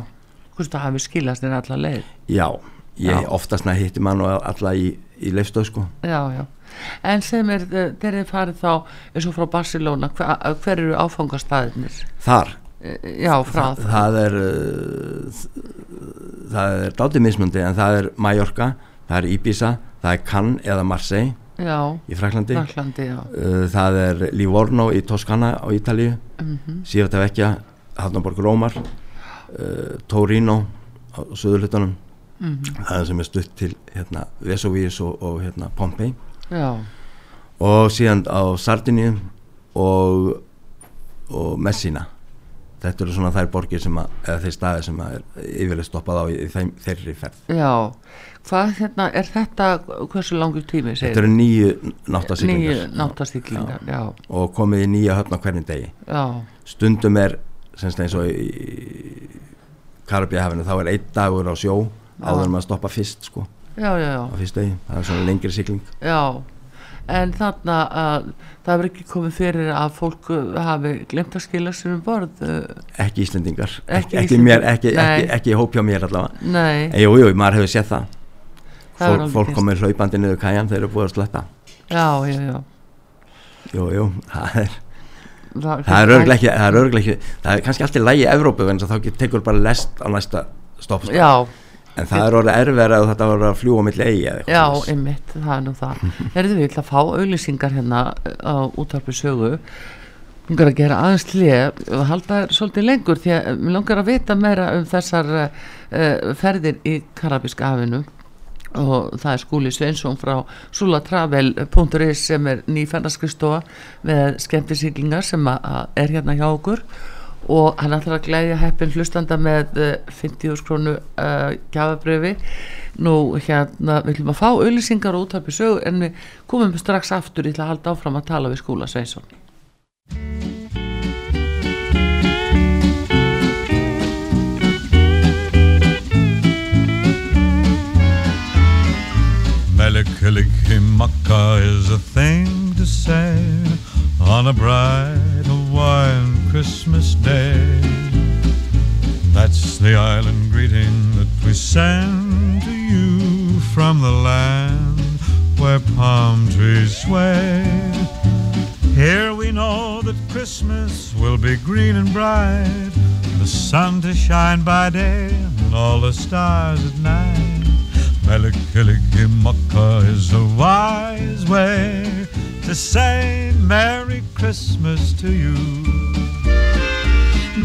hvort það hafi skilast þér alla leið
já, ég
Já.
oftast með hittir mann og alla í, í leifstöð sko
já, já, en sem er eh, þeir eru farið þá eins og frá Barcelona hver, hver eru áfangastæðinir
þar
E, já, frá
Þa, það er uh, það er dátið mismundi en það er Mallorca, það er Ibiza það er Cannes eða Marseille
Já,
í Fraklandi,
Frakklandi, já.
það er Livorno í Toskana á Ítalíu
Mhm.
síðan að vekja Hafnaborg Rómar uh, Torino á söðurlutunum
Mhm.
það er sem er stutt til hérna, Vesuvius og, og hérna, Pompei
Já.
og síðan á Sardinju og, og Messina þetta eru svona þær borgir sem að, eða þeir staði sem að er yfirlega stoppað á í, í þeim, þeirri ferð
já, hvað hérna er þetta, hversu langur tími segir
þetta eru nýju náttasýklingar
Níu náttastiglingar, já.
og komið í nýja höfn á hverjum degi
Já.
stundum er semst eins og í Karabíahafinu þá er einn dagur á sjó
Já.
áður en maður stoppa fyrst sko
Já, já, já.
á fyrst degi, það er svona lengri sigling
Já, en þarna að það hefur ekki komið fyrir að fólk uh, hafi glemt að skila sér um borð. uh,
ekki Íslendingar,
Ekki
ekki, ekki,
Íslendingar.
mér, ekki,
Nei.
ekki, ekki hópjá mér allavega
Nei.
en jú, jú, maður hefur séð það
Það hefur
fólk,
alveg
fólk
gerst.
komið hlaupandi niður kæjan þeir eru búið að sletta
Já, já, já.
jú, jú, það er
Það-
það er örglega ekki, það er örglega ekki það er kannski alltaf í lægi Evrópu en þá get- tekur bara lest á næsta stopp sko.
Já.
en það er orðið erfið að þetta var að fljúa á milli eigi eða eitthvað
Já,
svoleiðis.
einmitt, það er nú það. Herðu, við ætla að fá auðlýsingar hérna uh, á útarpi sögu. Mér langar að gera aðeins hlið og halda þær svolítið lengur því að mér langar að vita meira um þessar uh, uh, ferðir í Karabíska hafinu og það er skúli Sveinsson frá sulatravel.is sem er nýferðarskristofa með skemmtisýklingar sem að- að er hérna hjá okkur og hann ætlar að glæðja heppin hlustanda með eh, 50.000 krónu uh, gjafabrifi nú hérna við viljum að fá auðlýsingar og útarpi sögu en við komum strax aftur ég ætla að halda áfram að tala við skúla Sveinsson
Melikilikimaka is a thing to say on a bright Hawaiian Christmas day. That's the island greeting that we send to you from the land where palm trees sway. Here we know that Christmas will be green and bright, the sun to shine by day, and all the stars at night. Melikilikimaka is a wise way to say Merry Christmas to you.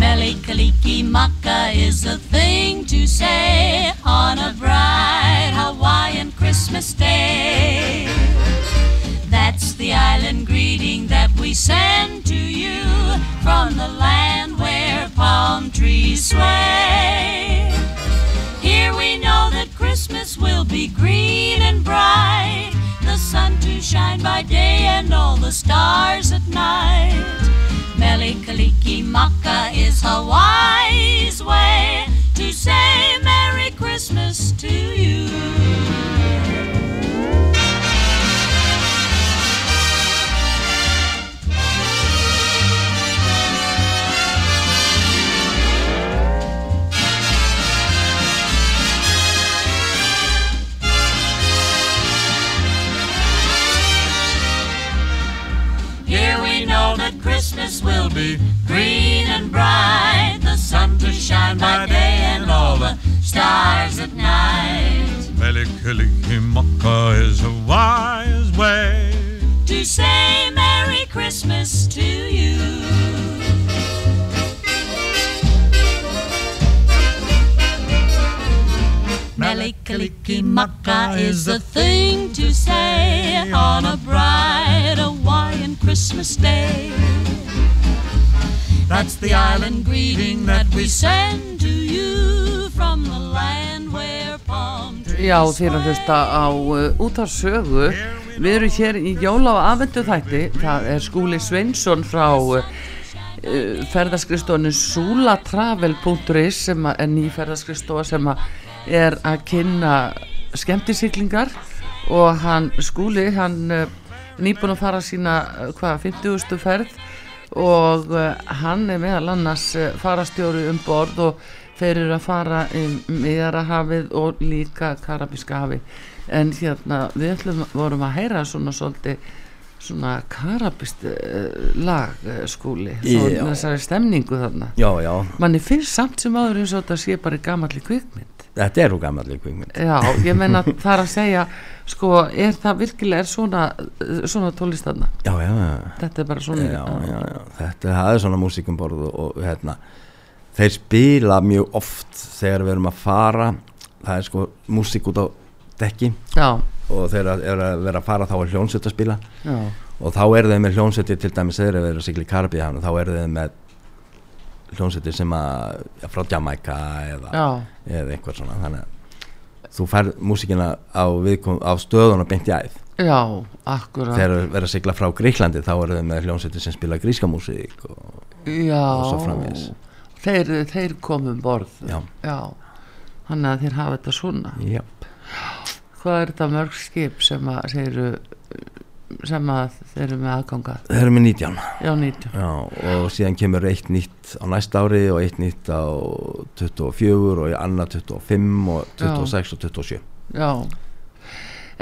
Melikaliki maka is a thing to say on a bright Hawaiian Christmas day. That's the island greeting that we send to you from the land where palm trees sway. Here we know that Christmas will be green and bright, the sun to shine by day and all the stars at night. Melikaliki Maka is a wise way to say Merry Christmas to you. Here we know that Christmas will be green and bright, the sun to shine by day and all the stars at night.
Melikilikimaka is a wise way
To say Merry Christmas to you. Melikilikimaka is a thing to say on a bright Hawaiian Christmas day. That's the island greeting that we send to you from the land where palm trees.
Já, þeir að hlusta á uh, útarsögu Við erum hér í jóla á aðvendu þætti Það er skúli Sveinsson frá uh, uh, ferðaskristónu sulatravel.is sem að- er ný ferðaskristóa sem að er að kynna skemmtisiklingar og hann skúli, hann uh, nýbúin að fara sína uh, hvað, 50. eh, ferð og uh, hann er meðal annars uh, farastjóri um borð og þeir eru að fara um Miðarahafið og líka Karabíska hafi en hérna við ætlum, vorum að heyra svona svolítið svona karabist uh, lag uh, skúli þá er
Já.
þessari stemningu þarna
já, já,
manni finnst samt sem áður eins og þetta sé bara í gamalli kvikmynd
þetta er úr gamalli kvikmynd
já, ég meina það er að segja sko, er það virkilega er svona, uh, svona tólistanna
já, já, já
þetta er bara svona
já, já, já. þetta það er svona músikumborð og, og hérna þeir spila mjög oft þegar við erum að fara það er sko músík út á dekki
Já.
og þegar það er að vera að fara þá er hljónsett að spila
Já.
og þá eru þeir með hljónsetti til dæmis þegar þeir eru að sigla í Karabíhafn þá eru þeir með hljónsetti sem að ja, frá Jamaica eða,
Já.
eða eitthvað svona þannig að þú færð músíkina á, viðkom, á stöðuna beint í æð
já, akkurat
þegar þeir verða að sigla frá Gríklandi þá eru þau með hljómsveitir sem spila gríska músík og,
já,
og svo framvegis
þeir, þeir komum borð
Já.
þannig að þeir hafa þetta svona
já.
hvað er þetta mörg skip sem að þeir eru sem að þeir eru með aðganga
þeir eru með 19
já, 19
já, og síðan kemur eitt nýtt á næsta ári og eitt nýtt á 24 og annað 25 og 26 og 27
Já,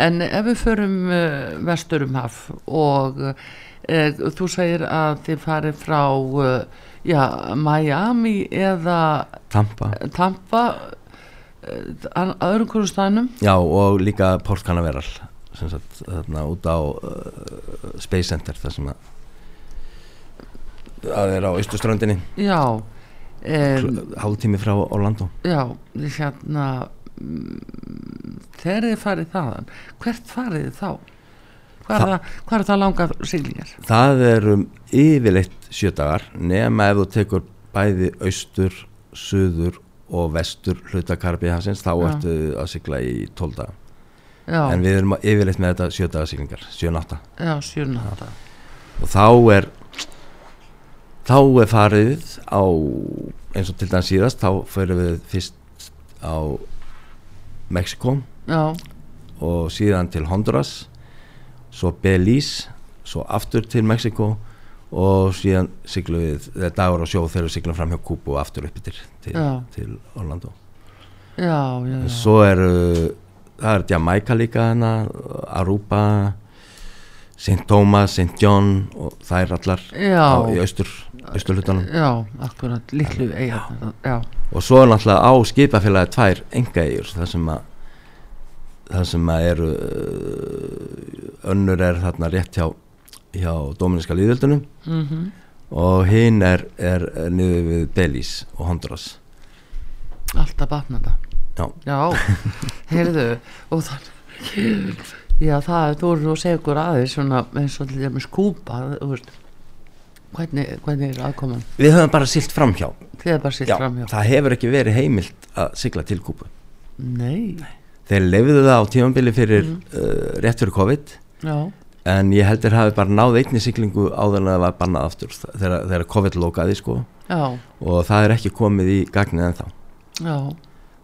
en ef við förum uh, vestur um haf og uh, þú segir að þið farið frá uh, já, Miami eða
Tampa.
Tampa uh, an- öðrum hverju stænum
já og líka Port Canaveral sem sagt þarna út á uh, Space Center þar sem að að er á Ístuströndinni
Já, um,
hálftími frá Orlando
já, hérna mm, þegar þið farið þaðan hvert farið þið þá? Hvað er,
Þa-
það, hvað er það langar siglingar?
Það er um yfirleitt sjö dagar nema ef þú tekur bæði austur, suður og vestur hluta Karabíhafsins þá
Já.
ertu að sigla í 12 daga
Já.
en við erum að- yfirleitt með þetta sjö daga siglingar, sjö nátta
Já, sjönaða
og þá er þá er farið á eins og til dæmis síðast þá fyrir við fyrst á Mexiko
Já.
og síðan til Honduras svo Belize svo aftur til Mexiko og síðan siglum við það er dagur á sjó þegar við siglum fram hjá Kúbu og aftur upp yfir til,
Já.
til Orlando
Já, já, já.
svo eru það er Jamaica líka hana Aruba St. Thomas, St. John og það er allar
Já.
á, í austur, austurhlutanum
Já, akkurat, litlu eiga Já,
og svo er náttúrulega á skipafélagi tvær engaegjur það sem að það sem að eru uh, önnur er þarna rétt hjá hjá Dominíska líðöldunum
Mhm.
og hinn er, er, er niður við Belize og Honduras
alltaf batnanda
Já.
Já, heyrðu og þannig Já, það, þú eru nú að segja okkur aðeins svona, eins og til dæmis Kúba þú veist, hvernig, hvernig er aðkoman?
við höfum bara silt framhjá
Þið er bara silt
Já,
framhjá.
það hefur ekki verið heimilt að sigla til Kúbu
Nei,
þeir lefðu það á tímambili fyrir uh, rétt fyrir COVID
Mhm. Já.
en ég heldur hafi bara náð einni siglingu áður en það var bannað aftur þegar, þegar COVID lokaði sko
Já.
og það er ekki komið í gagnið ennþá
já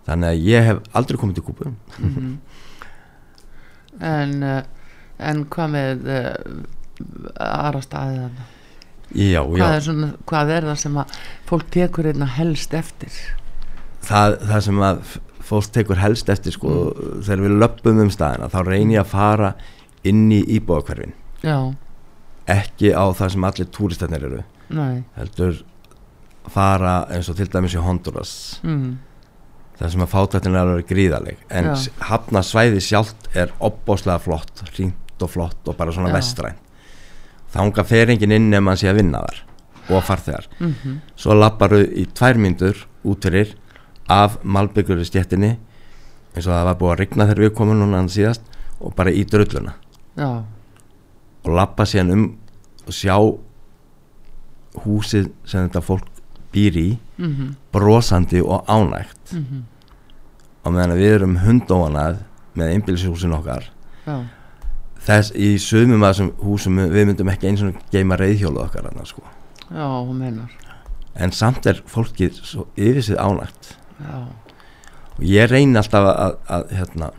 þannig að ég hef aldrei komið til Kúbu
mhm. En uh, en hvað með uh, aðra staðið þarna?
Já, já.
Hvað er, svona, hvað er það sem að fólk tekur einna helst eftir?
það, það sem að f- fólk tekur helst eftir sko
Mm.
þegar við löppum um staðina þá reyni ég að fara inn í íbúðakverfin
Já.
ekki á það sem allir túristatnir eru
Nei.
heldur fara eins og til dæmis í Honduras
Mhm.
það sem að fátættin er alveg gríðaleg en
Já.
s- hafna svæði sjálft er opbóslega flott, hringt og flott og bara svona
Já.
vestræn þanga fer enginn inn ef hann sé að vinna þar og að farþegar
Mhm.
svo lapparu í tvær myndur út fyrir af malbyggur í stjettinni eins og það var búið að rigna þegar við komum núna hann síðast og bara í drulluna
Já.
og lappa síðan um og sjá húsið sem þetta fólk býr í
Mhm.
brosandi og ánægt
Mhm.
og meðan að við erum hundóanað með einbílshúsin okkar
Já.
þess í sumum af þessum húsum við myndum ekki eins og geima reyðhjólu okkar annars, sko.
Já, hún meinar
en samt er fólkið svo yfir sig ánægt
Já.
og ég reyni alltaf að, að, að hérna,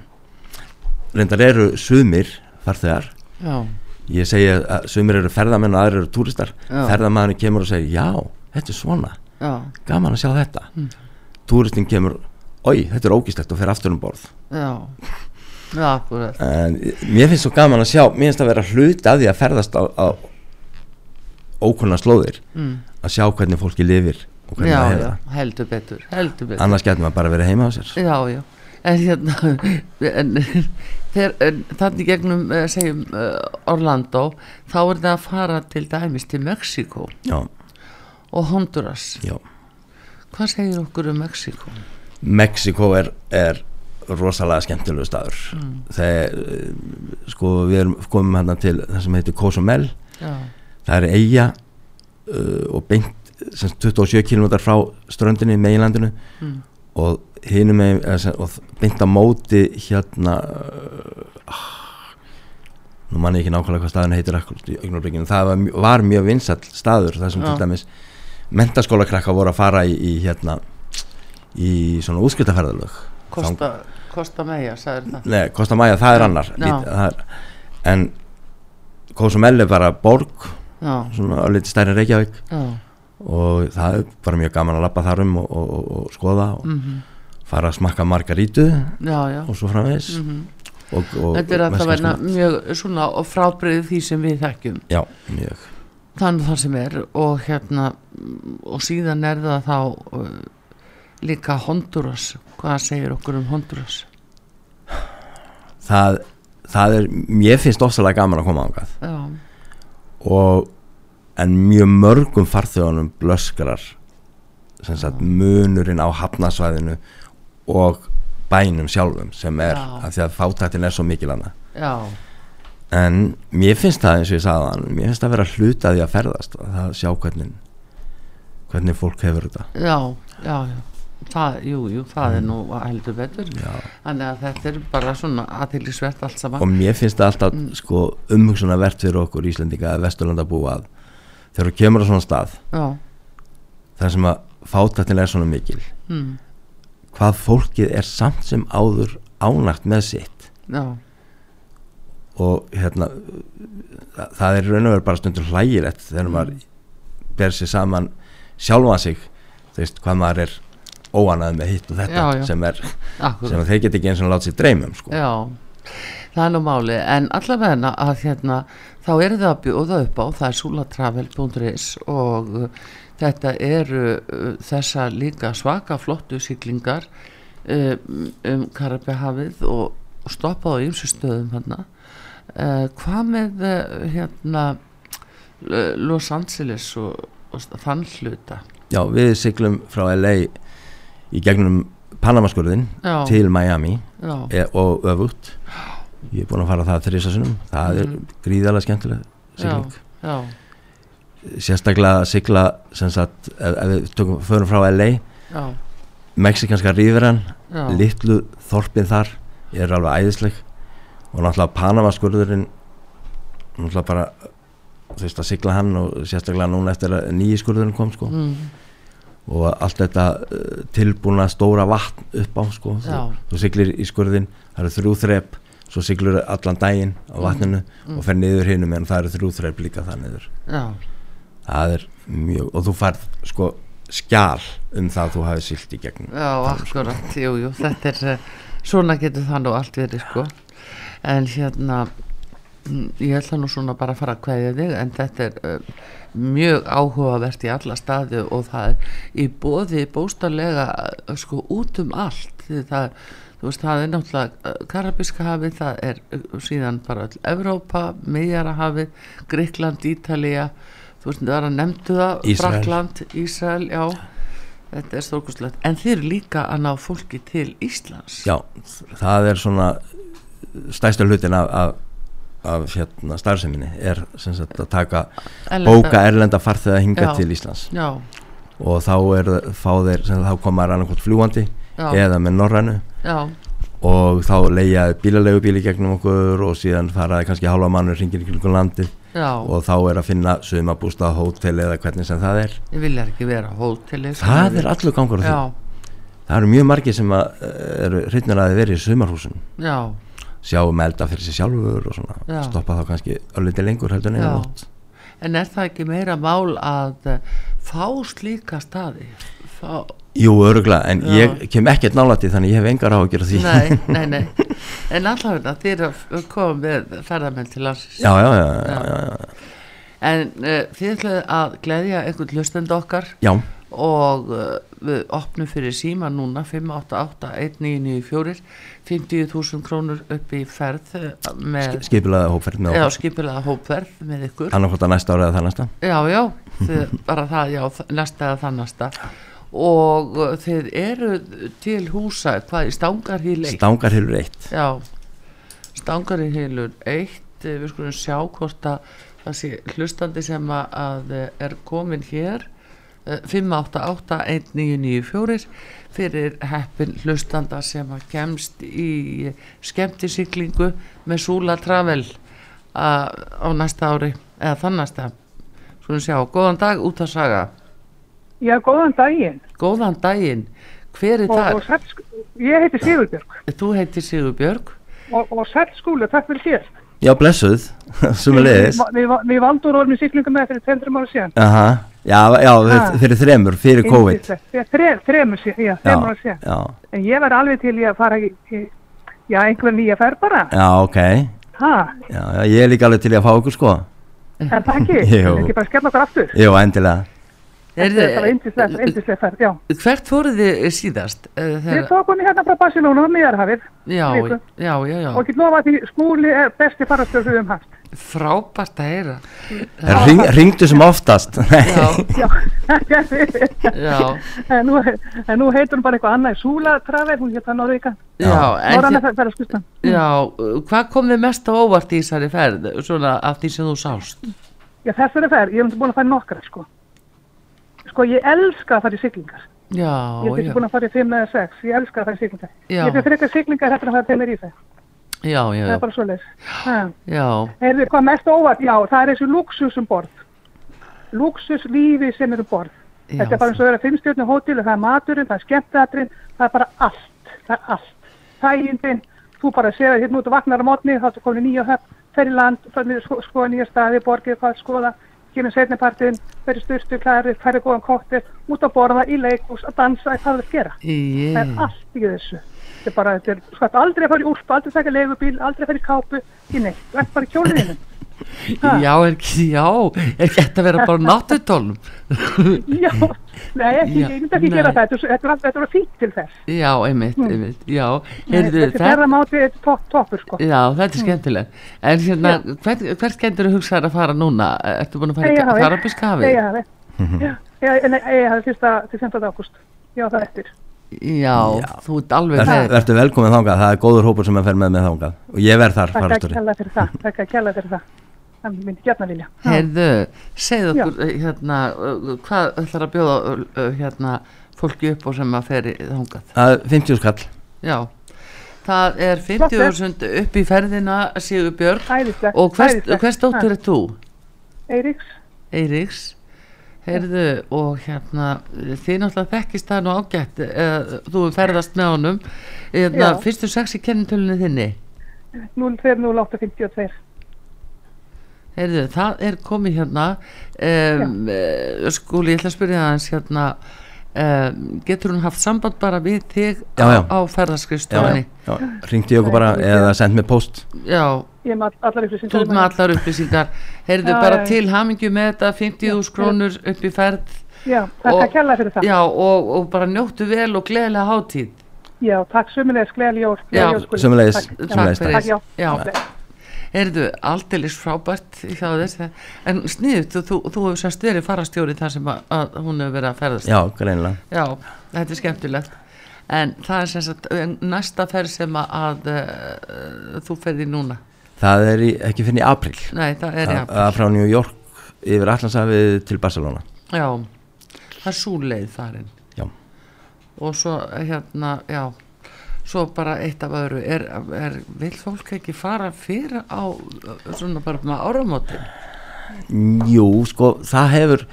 reyndar eru sumir farþegar
Já.
ég segi að sumir eru ferðamenn og aðrir eru túristar
Já.
ferðamæðinu kemur og segir já, þetta er svona
Já.
gaman að sjá þetta
Mm.
túristin kemur, oi, þetta er ógislegt og fer aftur um borð
Já, já, akkurat
en mér finnst svo gaman að sjá mér finnst að vera hluti af því að ferðast á, á ókunna slóðir
Mm.
að sjá hvernig fólki lifir og hvernig
Já,
það hefur
já, heldur betur, heldur betur
það annars getur maður bara verið heima á sér
Já, já, en hérna en, þeir, en, þannig gegnum eh, segjum eh, Orlando þá er það að fara til dæmis til Mexiko
Já.
og Honduras
Já.
Hvað segir okkur um Mexiko?
Mexiko er, er rosalega skemmtilegu staður mm.
Mm.
þegar sko við erum komum hérna til það sem heitir Cozumel
Já.
það er eiga uh, og beint sem sagt, 27 km frá ströndinni í meginlandinu
Mm.
og hinum megin eða sem- og þ- beint á móti hérna uh, nú manni ekki nákvæmlega hvað staðin heitir akkurat í augnablikinu, það var, mj- var mjög vinsall staður þar sem
Já.
til dæmis mentaskóla voru að fara í, í hérna í svona útskiptaferðalög
Kosta, kosta meja, sagður það
Nei, Costa Maja, það er annar
Já.
lít, það er, En Cozumel er bara borg
Já.
Svona öllítið stærri en Reykjavík
Já.
Og það er bara mjög gaman að labba þar um og, og, og, og skoða og
Mhm.
fara að smakka margarítu
Já, já.
og svo framvegis
Mhm.
og, og,
Þetta er
og
að það verða
mexikansk mat.
mjög svona og frábriðið því sem við þekkjum
Já, mjög
þannig það sem er og hérna mm, og síðan er það þá uh, líka Honduras hvað segir okkur um Honduras
það, það er, mér finnst ofsalega gaman að koma ángað
Já.
og en mjög mörgum farþjóðunum blöskrar sem sagt munurinn á hafnasvæðinu og bænum sjálfum sem er,
Já.
af því að fátættin er svo mikil hana
Já.
en mér finnst það eins og ég sagði hann mér finnst það vera hluti af því að ferðast að það sjá hvernig hvernig fólk hefur þetta
já, já, já. Það, jú, jú, það er nú heldur betur
Mm. Já.
þannig að þetta er bara svona aðeinsvert allt saman
og mér finnst það alltaf
Mm.
sko, umhugsunarvert fyrir okkur Íslendinga eða Vesturlanda búa að þegar þú kemur á svona stað
Já.
þar sem að fátættin er svona mikil
Mm.
hvað fólkið er samt sem áður ánægt með sitt
já,
og hérna það, það er í raun og verið bara stundum hlægilegt þegar
Hmm.
maður ber sér saman sjálfan sig þú veist hvað maður er óanað með hitt og þetta
Já, já.
sem er
Akkurat.
sem að þeir get ekki eins og láta sér dreymum sko.
já það er nú máli, en allavega að hérna, þá er það að bjóða upp á það er sulatravel.is og uh, þetta eru uh, þessa líka svaka flottu siglingar um, um Karabihafið og og stoppað á ýmsu stöðum hérna uh, hvað með uh, hérna L- Los Angeles og, og þann hluta
já, við siglum frá LA í gegnum Panamaskurðin
Já.
til Miami
Já.
e og öfugt ég er búin að fara það þrísasunum það er
Mhm.
gríðarlega skemmtileg
já,
sigling
já,
sérstaklega að sigla sem sagt, ef, ef við tökum, förum frá LA
Já.
mexikanska ríðveran
Já.
litlu þorpin þar er alveg æðisleg og náttúrulega Panamaskurðurinn náttúrulega bara þú veist að sigla hann og sérstaklega núna eftir að nýji skurðurinn kom sko
Mm.
og allt þetta uh, tilbúna stóra vatn upp á sko þú,
Já.
þú siglir í skurðin, það eru þrjú þrep svo siglur allan daginn á vatninu
Mm.
og fer niður hinum en það eru þrjú þrep líka það niður
Já.
það er mjög, og þú færð sko skjal um það að þú hafi silt í gegnum
já akkurat jú, jú, þetta er eh, svona getur það nú allt verið sko en hérna mm, ég ætla nú svona bara að fara að kveðja þig en þetta er uh, mjög áhugavert í alla staði og það er í bóði bóstarlega eh, sko út um allt því það þú veist það er náttúrulega eh, Karabíska hafið það er eh, síðan bara öll Evrópa, Meðjara hafið Gríkland, Ítalía þú veist það er að nefndu það
Ísrael.
Frakland, Ísrael, já þetta er stórkustlegt, en þið eru líka að ná fólki til Íslands
Já, það er svona stæstu hlutin af, af, af hérna starfseminni er sem sagt að taka
Erlenda-
bóka erlenda farþeða hinga
Já.
til Íslands
Já.
og þá er, fá þeir, sem sagt, þá koma rannakvort fljúandi
Já.
eða með norrænu
Já.
og þá leiða bílalegu bíli gegnum okkur og síðan faraði kannski hálfa mannur hringir í kringum landið
Já.
og þá er að finna sumabústa hótel eða hvernig sem það er
Ég vil ekki vera á hóteli sko,
það
ég
er
vil-
allur gangur á því
Já,
það eru mjög margir sem að, eh, eru hrytnir að þeir verið í sumarhúsum
já,
sjáum elda fyrir sér sjálfur og svona
Já.
stoppa þá kannski ölliti lengur heldur en einu
Já.
nótt
En er það ekki meira mál að eh, fá slíka staði? Fá,
Jú, öruglega, en
Já.
ég kem ekkert nálætti þannig ég hef engar áhyggjur af því
nei, nei, nei. En allavega þér komum við ferðamenn til landsins.
Já, já, já, já, já, já.
En uh, þið ætlaði að gleðja einhvern hlustend okkar
Já.
og uh, við opnum fyrir síma núna 588-1994 50.000 krónur upp í ferð eh, með
Sk- skipulagða hópferð með
Já,
okkur.
skipilaða hópferð með ykkur
Annarkvort að næsta ára eða það næsta
Já, já, þið, bara það, já, þ- næsta eða þannasta og uh, þið eru til húsa, hvað, stangarhýl 1?
Stangarhylur 1.
Já, stangarhýlur 1, eh, við skulum sjá hvort að það sé hlustandi sem að, að eh, er komin hér, Eh, 588-1994 fyrir heppin hlustanda sem að kemst í skemmtisiklingu með Súla Travel a- á næsta ári eða þannasta Skulum sjá, góðan dag út að saga
Já, góðan daginn.
Góðan daginn, hver er
Og,
það?
og sæll, ég heiti Sigurbjörg
Þú heitir Sigurbjörg
og, og sæll skúli, takk fyrir þér.
Já, blessuð, sem er leiðis
Við- Við, við valdur orðum í siglingum með fyrir 200 ára síðan.
Aha. Já, já fyrir, fyrir þremur, fyrir COVID
Yndislegt. Já, Þre, þremur síðan, já, þremur ára síðan.
já,
En ég var alveg til í að fara í, í já, einhver nýja ferð bara.
já, ok já,
Ha,
já, Ég er líka alveg til í að fá okkur sko
en það ekki,
Jú.
ekki bara skella okkur aftur.
Jú, endilega
Heyrðu, eh,
Þetta var yndislega, yndislega ferð, já.
Hvert fóruð þið síðast? Eh,
Við
Þegar,
tókum hérna frá Barcelona á miðarhafið.
já,
viku.
já, já, já,
Og ekki lofa því skúli er besti farastur við um hans.
frábært að heyra
Ring, Ringdu sem oftast
Já,
Já.
en, nú, en nú heitur hún bara eitthvað annað Súla Travel, hún hétt það Norðvika
Já, en
Norræna
þið-
ferðarskristan
Já, eh, hvað kom þið mest á óvart í þessari ferð, svona af því sem þú sást?
Já, þessari ferð, ég hef búin að fara í nokkra sko Sko, ég elska að fara í siglingar
Já,
Ég hef
já,
ekki búin að fara í 5 eða 6, ég elska að fara í siglingar
Já.
Ég fyrir frekar siglingar hættur að fara til mér í það
já, já,
Það
já,
er bara svo leis
já,
Heyrðu, hvað mest óvart, já, það er þessu luxus um borð. Luxus lífi sem er um borð.
Já.
Þetta er bara eins og að vera fimmstjörnu hótel, það er maturinn, það er skemmtæðatrinn, það er bara allt, það er allt. Þægindin, þú bara sér að hérna út og vaknar á mótni, þá ertu komin í nýja höfn, fer í land, fer niður sko, skoða nýja staði, borgið, hvað að skoða, kemur setnipartin, fer í styrstu, klæri, fer í góðan kóttir, út að borða, í leikhús, að dansa, hvað það gera.
Ég-
Það er allt í þessu. Þetta er bara, þetta er, sko, aldrei að fara í úlpu, aldrei að taka leigubíl, aldrei að fara í kápu, í neitt. Það er bara kjóliðinu.
já, er ekki, já, er ekki þetta að vera bara á náttutólnum?
Já, nei, ekki,
Já,
ég myndi ekki
nei.
gera það, þetta er svo- þetta er alltaf- þetta er fínt til þess.
Já, einmitt,
Mm.
einmitt, já,
Nei,
heyrðu,
Þessi ferðamáti er topp, toppur, sko.
Já, þetta er skemmtilegt. En hérna, hvert, hvert skemmtir þú hugsaðar að fara núna? Ertu búin að fara í Karabískafið?
Eða hafi, eða nei, Eyjahafi fyrsta til 15. ágúst, já það eftir.
Já, þú ert alveg
Ver,
með.
Vertu velkomin þangað, það er góður hópur sem er fer með með þangað Og ég verð þar,
Takk að
farastur
kjalla fyrir það, takk að kjalla fyrir það. Það er myndi gætna vilja.
Heyrðu, segð okkur, eh, hérna, eh, hvað ætlar að bjóða, eh, hérna, fólki upp og sem að feri þangað?
Það er 50 skall
Já, það er 50.000 upp í ferðina, Sigur Björg.
Æðislegt.
Og hvers,
æðislegt.
hvers
Ha,
dóttir er þú?
Eiríks,
Eiríks heyrðu og hérna þið náttúrulega þekkist það nú ágætt eða, þú hefur ferðast með honum hérna,
Já.
fyrstu sex í kennitölunni þinni
03052.
heyrðu það er komið hérna um, uh, skúli ég ætla að spyrja það hans hérna um, getur hún haft samband bara við þig
Já, já.
á, á ferðarskristofunni
Ringdu ég okkur bara eða send mér post
já,
Ég er með all- allar
þú
upplýsingar. um
ert með allar upplýsingar heyrðu
Já,
bara
já, já.
til hamingju með þetta 50.000 krónur upp í ferð
Já, takk að kjalla fyrir það.
já, og, og bara njóttu vel og gleðilega hátíð
Já, takk sömulegis, gleðal jól. gleðileg jól, Skúli. Takk, já.
Takk
Takk, já.
fyrir Já. Erðu aldeilis frábært hjá þess En sniðut, þú, þú, þú hefur sérst verið farastjóri þar sem að, að hún hefur verið að ferðast
Já, greinilega.
Já, þetta er skemmtilegt En það er sérst að næsta ferð sem að, að uh, þú ferði núna
Það er í, ekki fyrir í april
Nei, það er í apríl.
Það er frá New York yfir Allansafið til Barcelona
Já, það er súleið þarinn
Já.
Og svo hérna, já Svo bara eitt af öðru er, er, Vil fólk ekki fara fyrir á uh, svona bara með áramótin?
Jú, sko, það hefur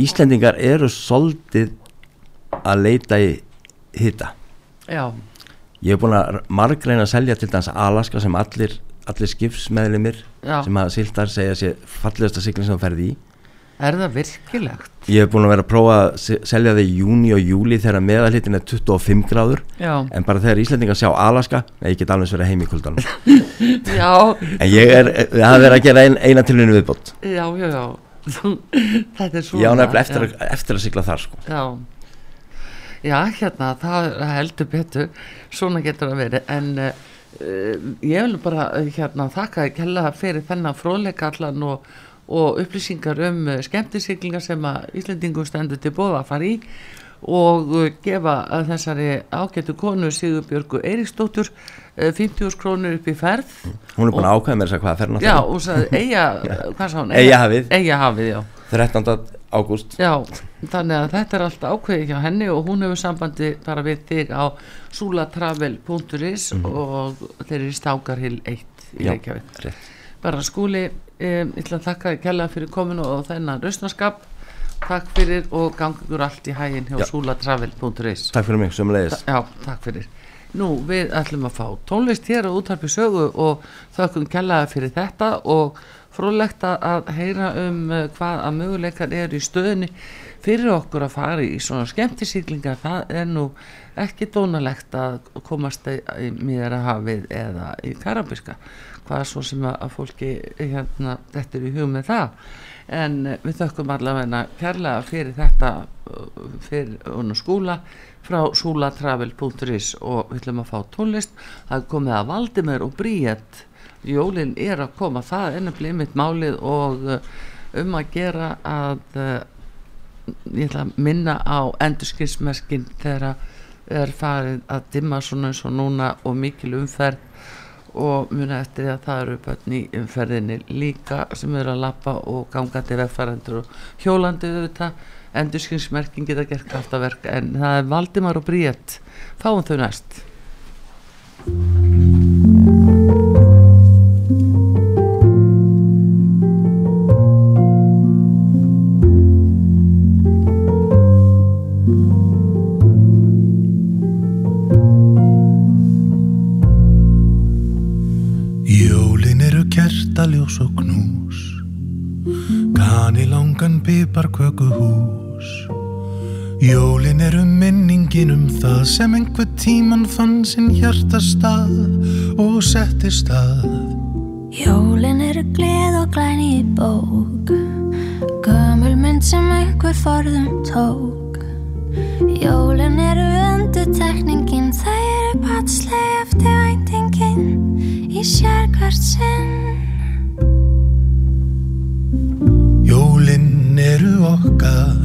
Íslendingar eru soldið að leita í hitta
Já,
ég hef búin að margreina að selja til dæmis Alaska sem allir, allir skipsmeðlumir
Já.
sem að sildar segja sé fallegasta sigling sem þú ferði í
Er það virkilegt?
Ég hef búin að vera að prófa að se- selja þau í júni og júli þegar meðalhitin er 25 gráður
Já.
en bara þegar Íslendingar sjá Alaska nei, ég get alveg verið heim í kuldanum
Já,
en ég er, það er verið að gera ein, eina tilhörinu viðbót
já, já, já. Þetta er svona.
ég á nefnilega eftir,
já.
að- eftir að sigla þar sko.
Já, já hérna, það heldur betur, svona getur það verið, en uh, ég vil bara eh, hérna, þakka kella fyrir þennan fróðleika allan og, og upplýsingar um uh, skemmtisiglingar sem að Íslendingum stendur til bóða að fara í og eh, gefa eh, þessari ágætu konu Sigurbjörgu Eiríksdóttur eh, 50 krónur upp í ferð
hún er búin
Og-
að ákveða mér þess að hvað fer
Já, og sagði eiga, hvað sá hún?
Eyjahafið.
Eyjahafið, já
13. ágúst
Já, þannig að þetta er allt ákveðið hjá henni og hún hefur sambandi bara við þig á sulatravel.is og þeir eru í stákarhill 1 í
Mhm. Já,
Reykjavík.
rétt.
Bara skúli, um, ég ætla að þakka kella fyrir kominu og þennan rausnarskap. Takk fyrir og gangur allt í hæginn hjá
Já.
sulatravel.is.
takk fyrir mig, sömulegis
Já, takk fyrir. Nú, við ætlum að fá tónlist hér á útarpi sögu og þökkum kjallaði fyrir þetta og frólægt að- að heyra um eh, hvað að möguleikar eru í stöðinni fyrir okkur að fara í svona skemmtisýklingar. Það er nú ekki dónalegt að komast í í Miðjarðarhafið eða í Karabiska, hvað svo sem að að fólki hérna þetta er í hug með það. En eh, við þökkum allavegna kærlega fyrir þetta eh, fyrir unna skúla frá súlatravel.is og við ætlum að fá tónlist það er komið að Valdimir og Bríett jólin er að koma það er nefnilega mitt málið og eh, um að gera að eh, ég ætla að minna á endurskinsmerkin þegar er farið að dimma svona eins og núna og mikil umferð og muna eftir því að það eru börn í umferðinni líka sem eru að lappa og gangandi vegfærandur og hjólandi auðvitað endurskinsmerkin geta gert kraftaverk en það er Valdimar og Bríett fáum þau næst
Jólin eru kertaljós og knús Kani langan piparkökuhús Jólin eru minningin um það sem einhver tíman fann sinn hjartastað og setti stað
Jólin eru gleð og glæni í bók Gömul mynd sem einhver forðum tók Jólin eru undur tekningin Það eru patsleg eftir væntingin Í sér hvert sinn
Jólin eru okkar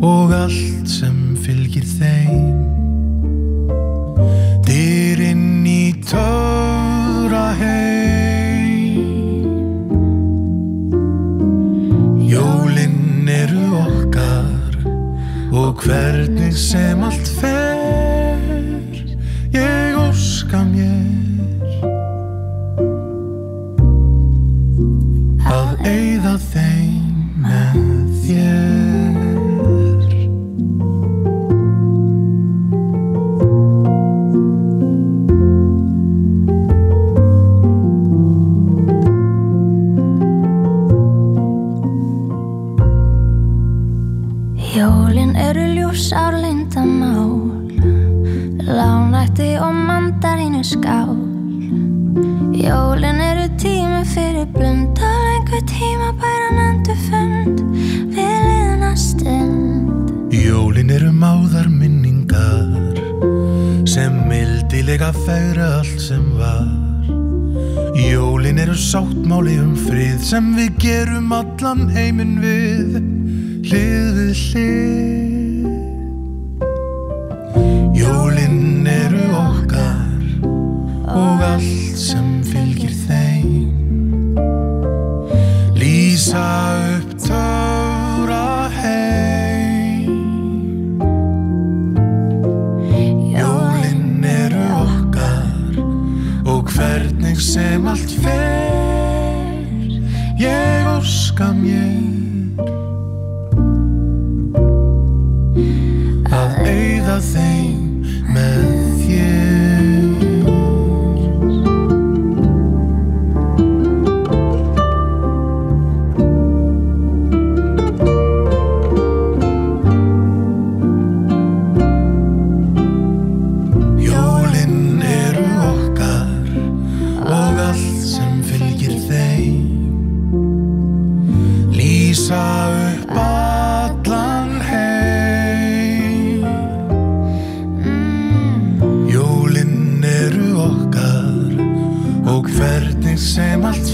og allt sem fylgir þeim. Dyrinn í töfra heim. Jólin eru okkar og hvernig sem allt fer, ég óska mér að eyða þeim með þér.
Jólin eru ljús árlindamál Lánætti og mandarínu skál Jólin eru tími fyrir blund og lengur tíma bæran endurfund við liðna stund
Jólin eru máðar minningar sem mildilega fegra allt sem var. Jólin eru sáttmáli um frið sem við gerum allan heiminn við, hlið við hlið. Jólin eru okkar og allt sem fylgir þeim. Lýsa upp töfra heim. Jólin eru okkar og hvernig sem allt fer, ég óska mér að eyða þeim með þér. upp allan heim Jólin eru okkar og hvernig sem allt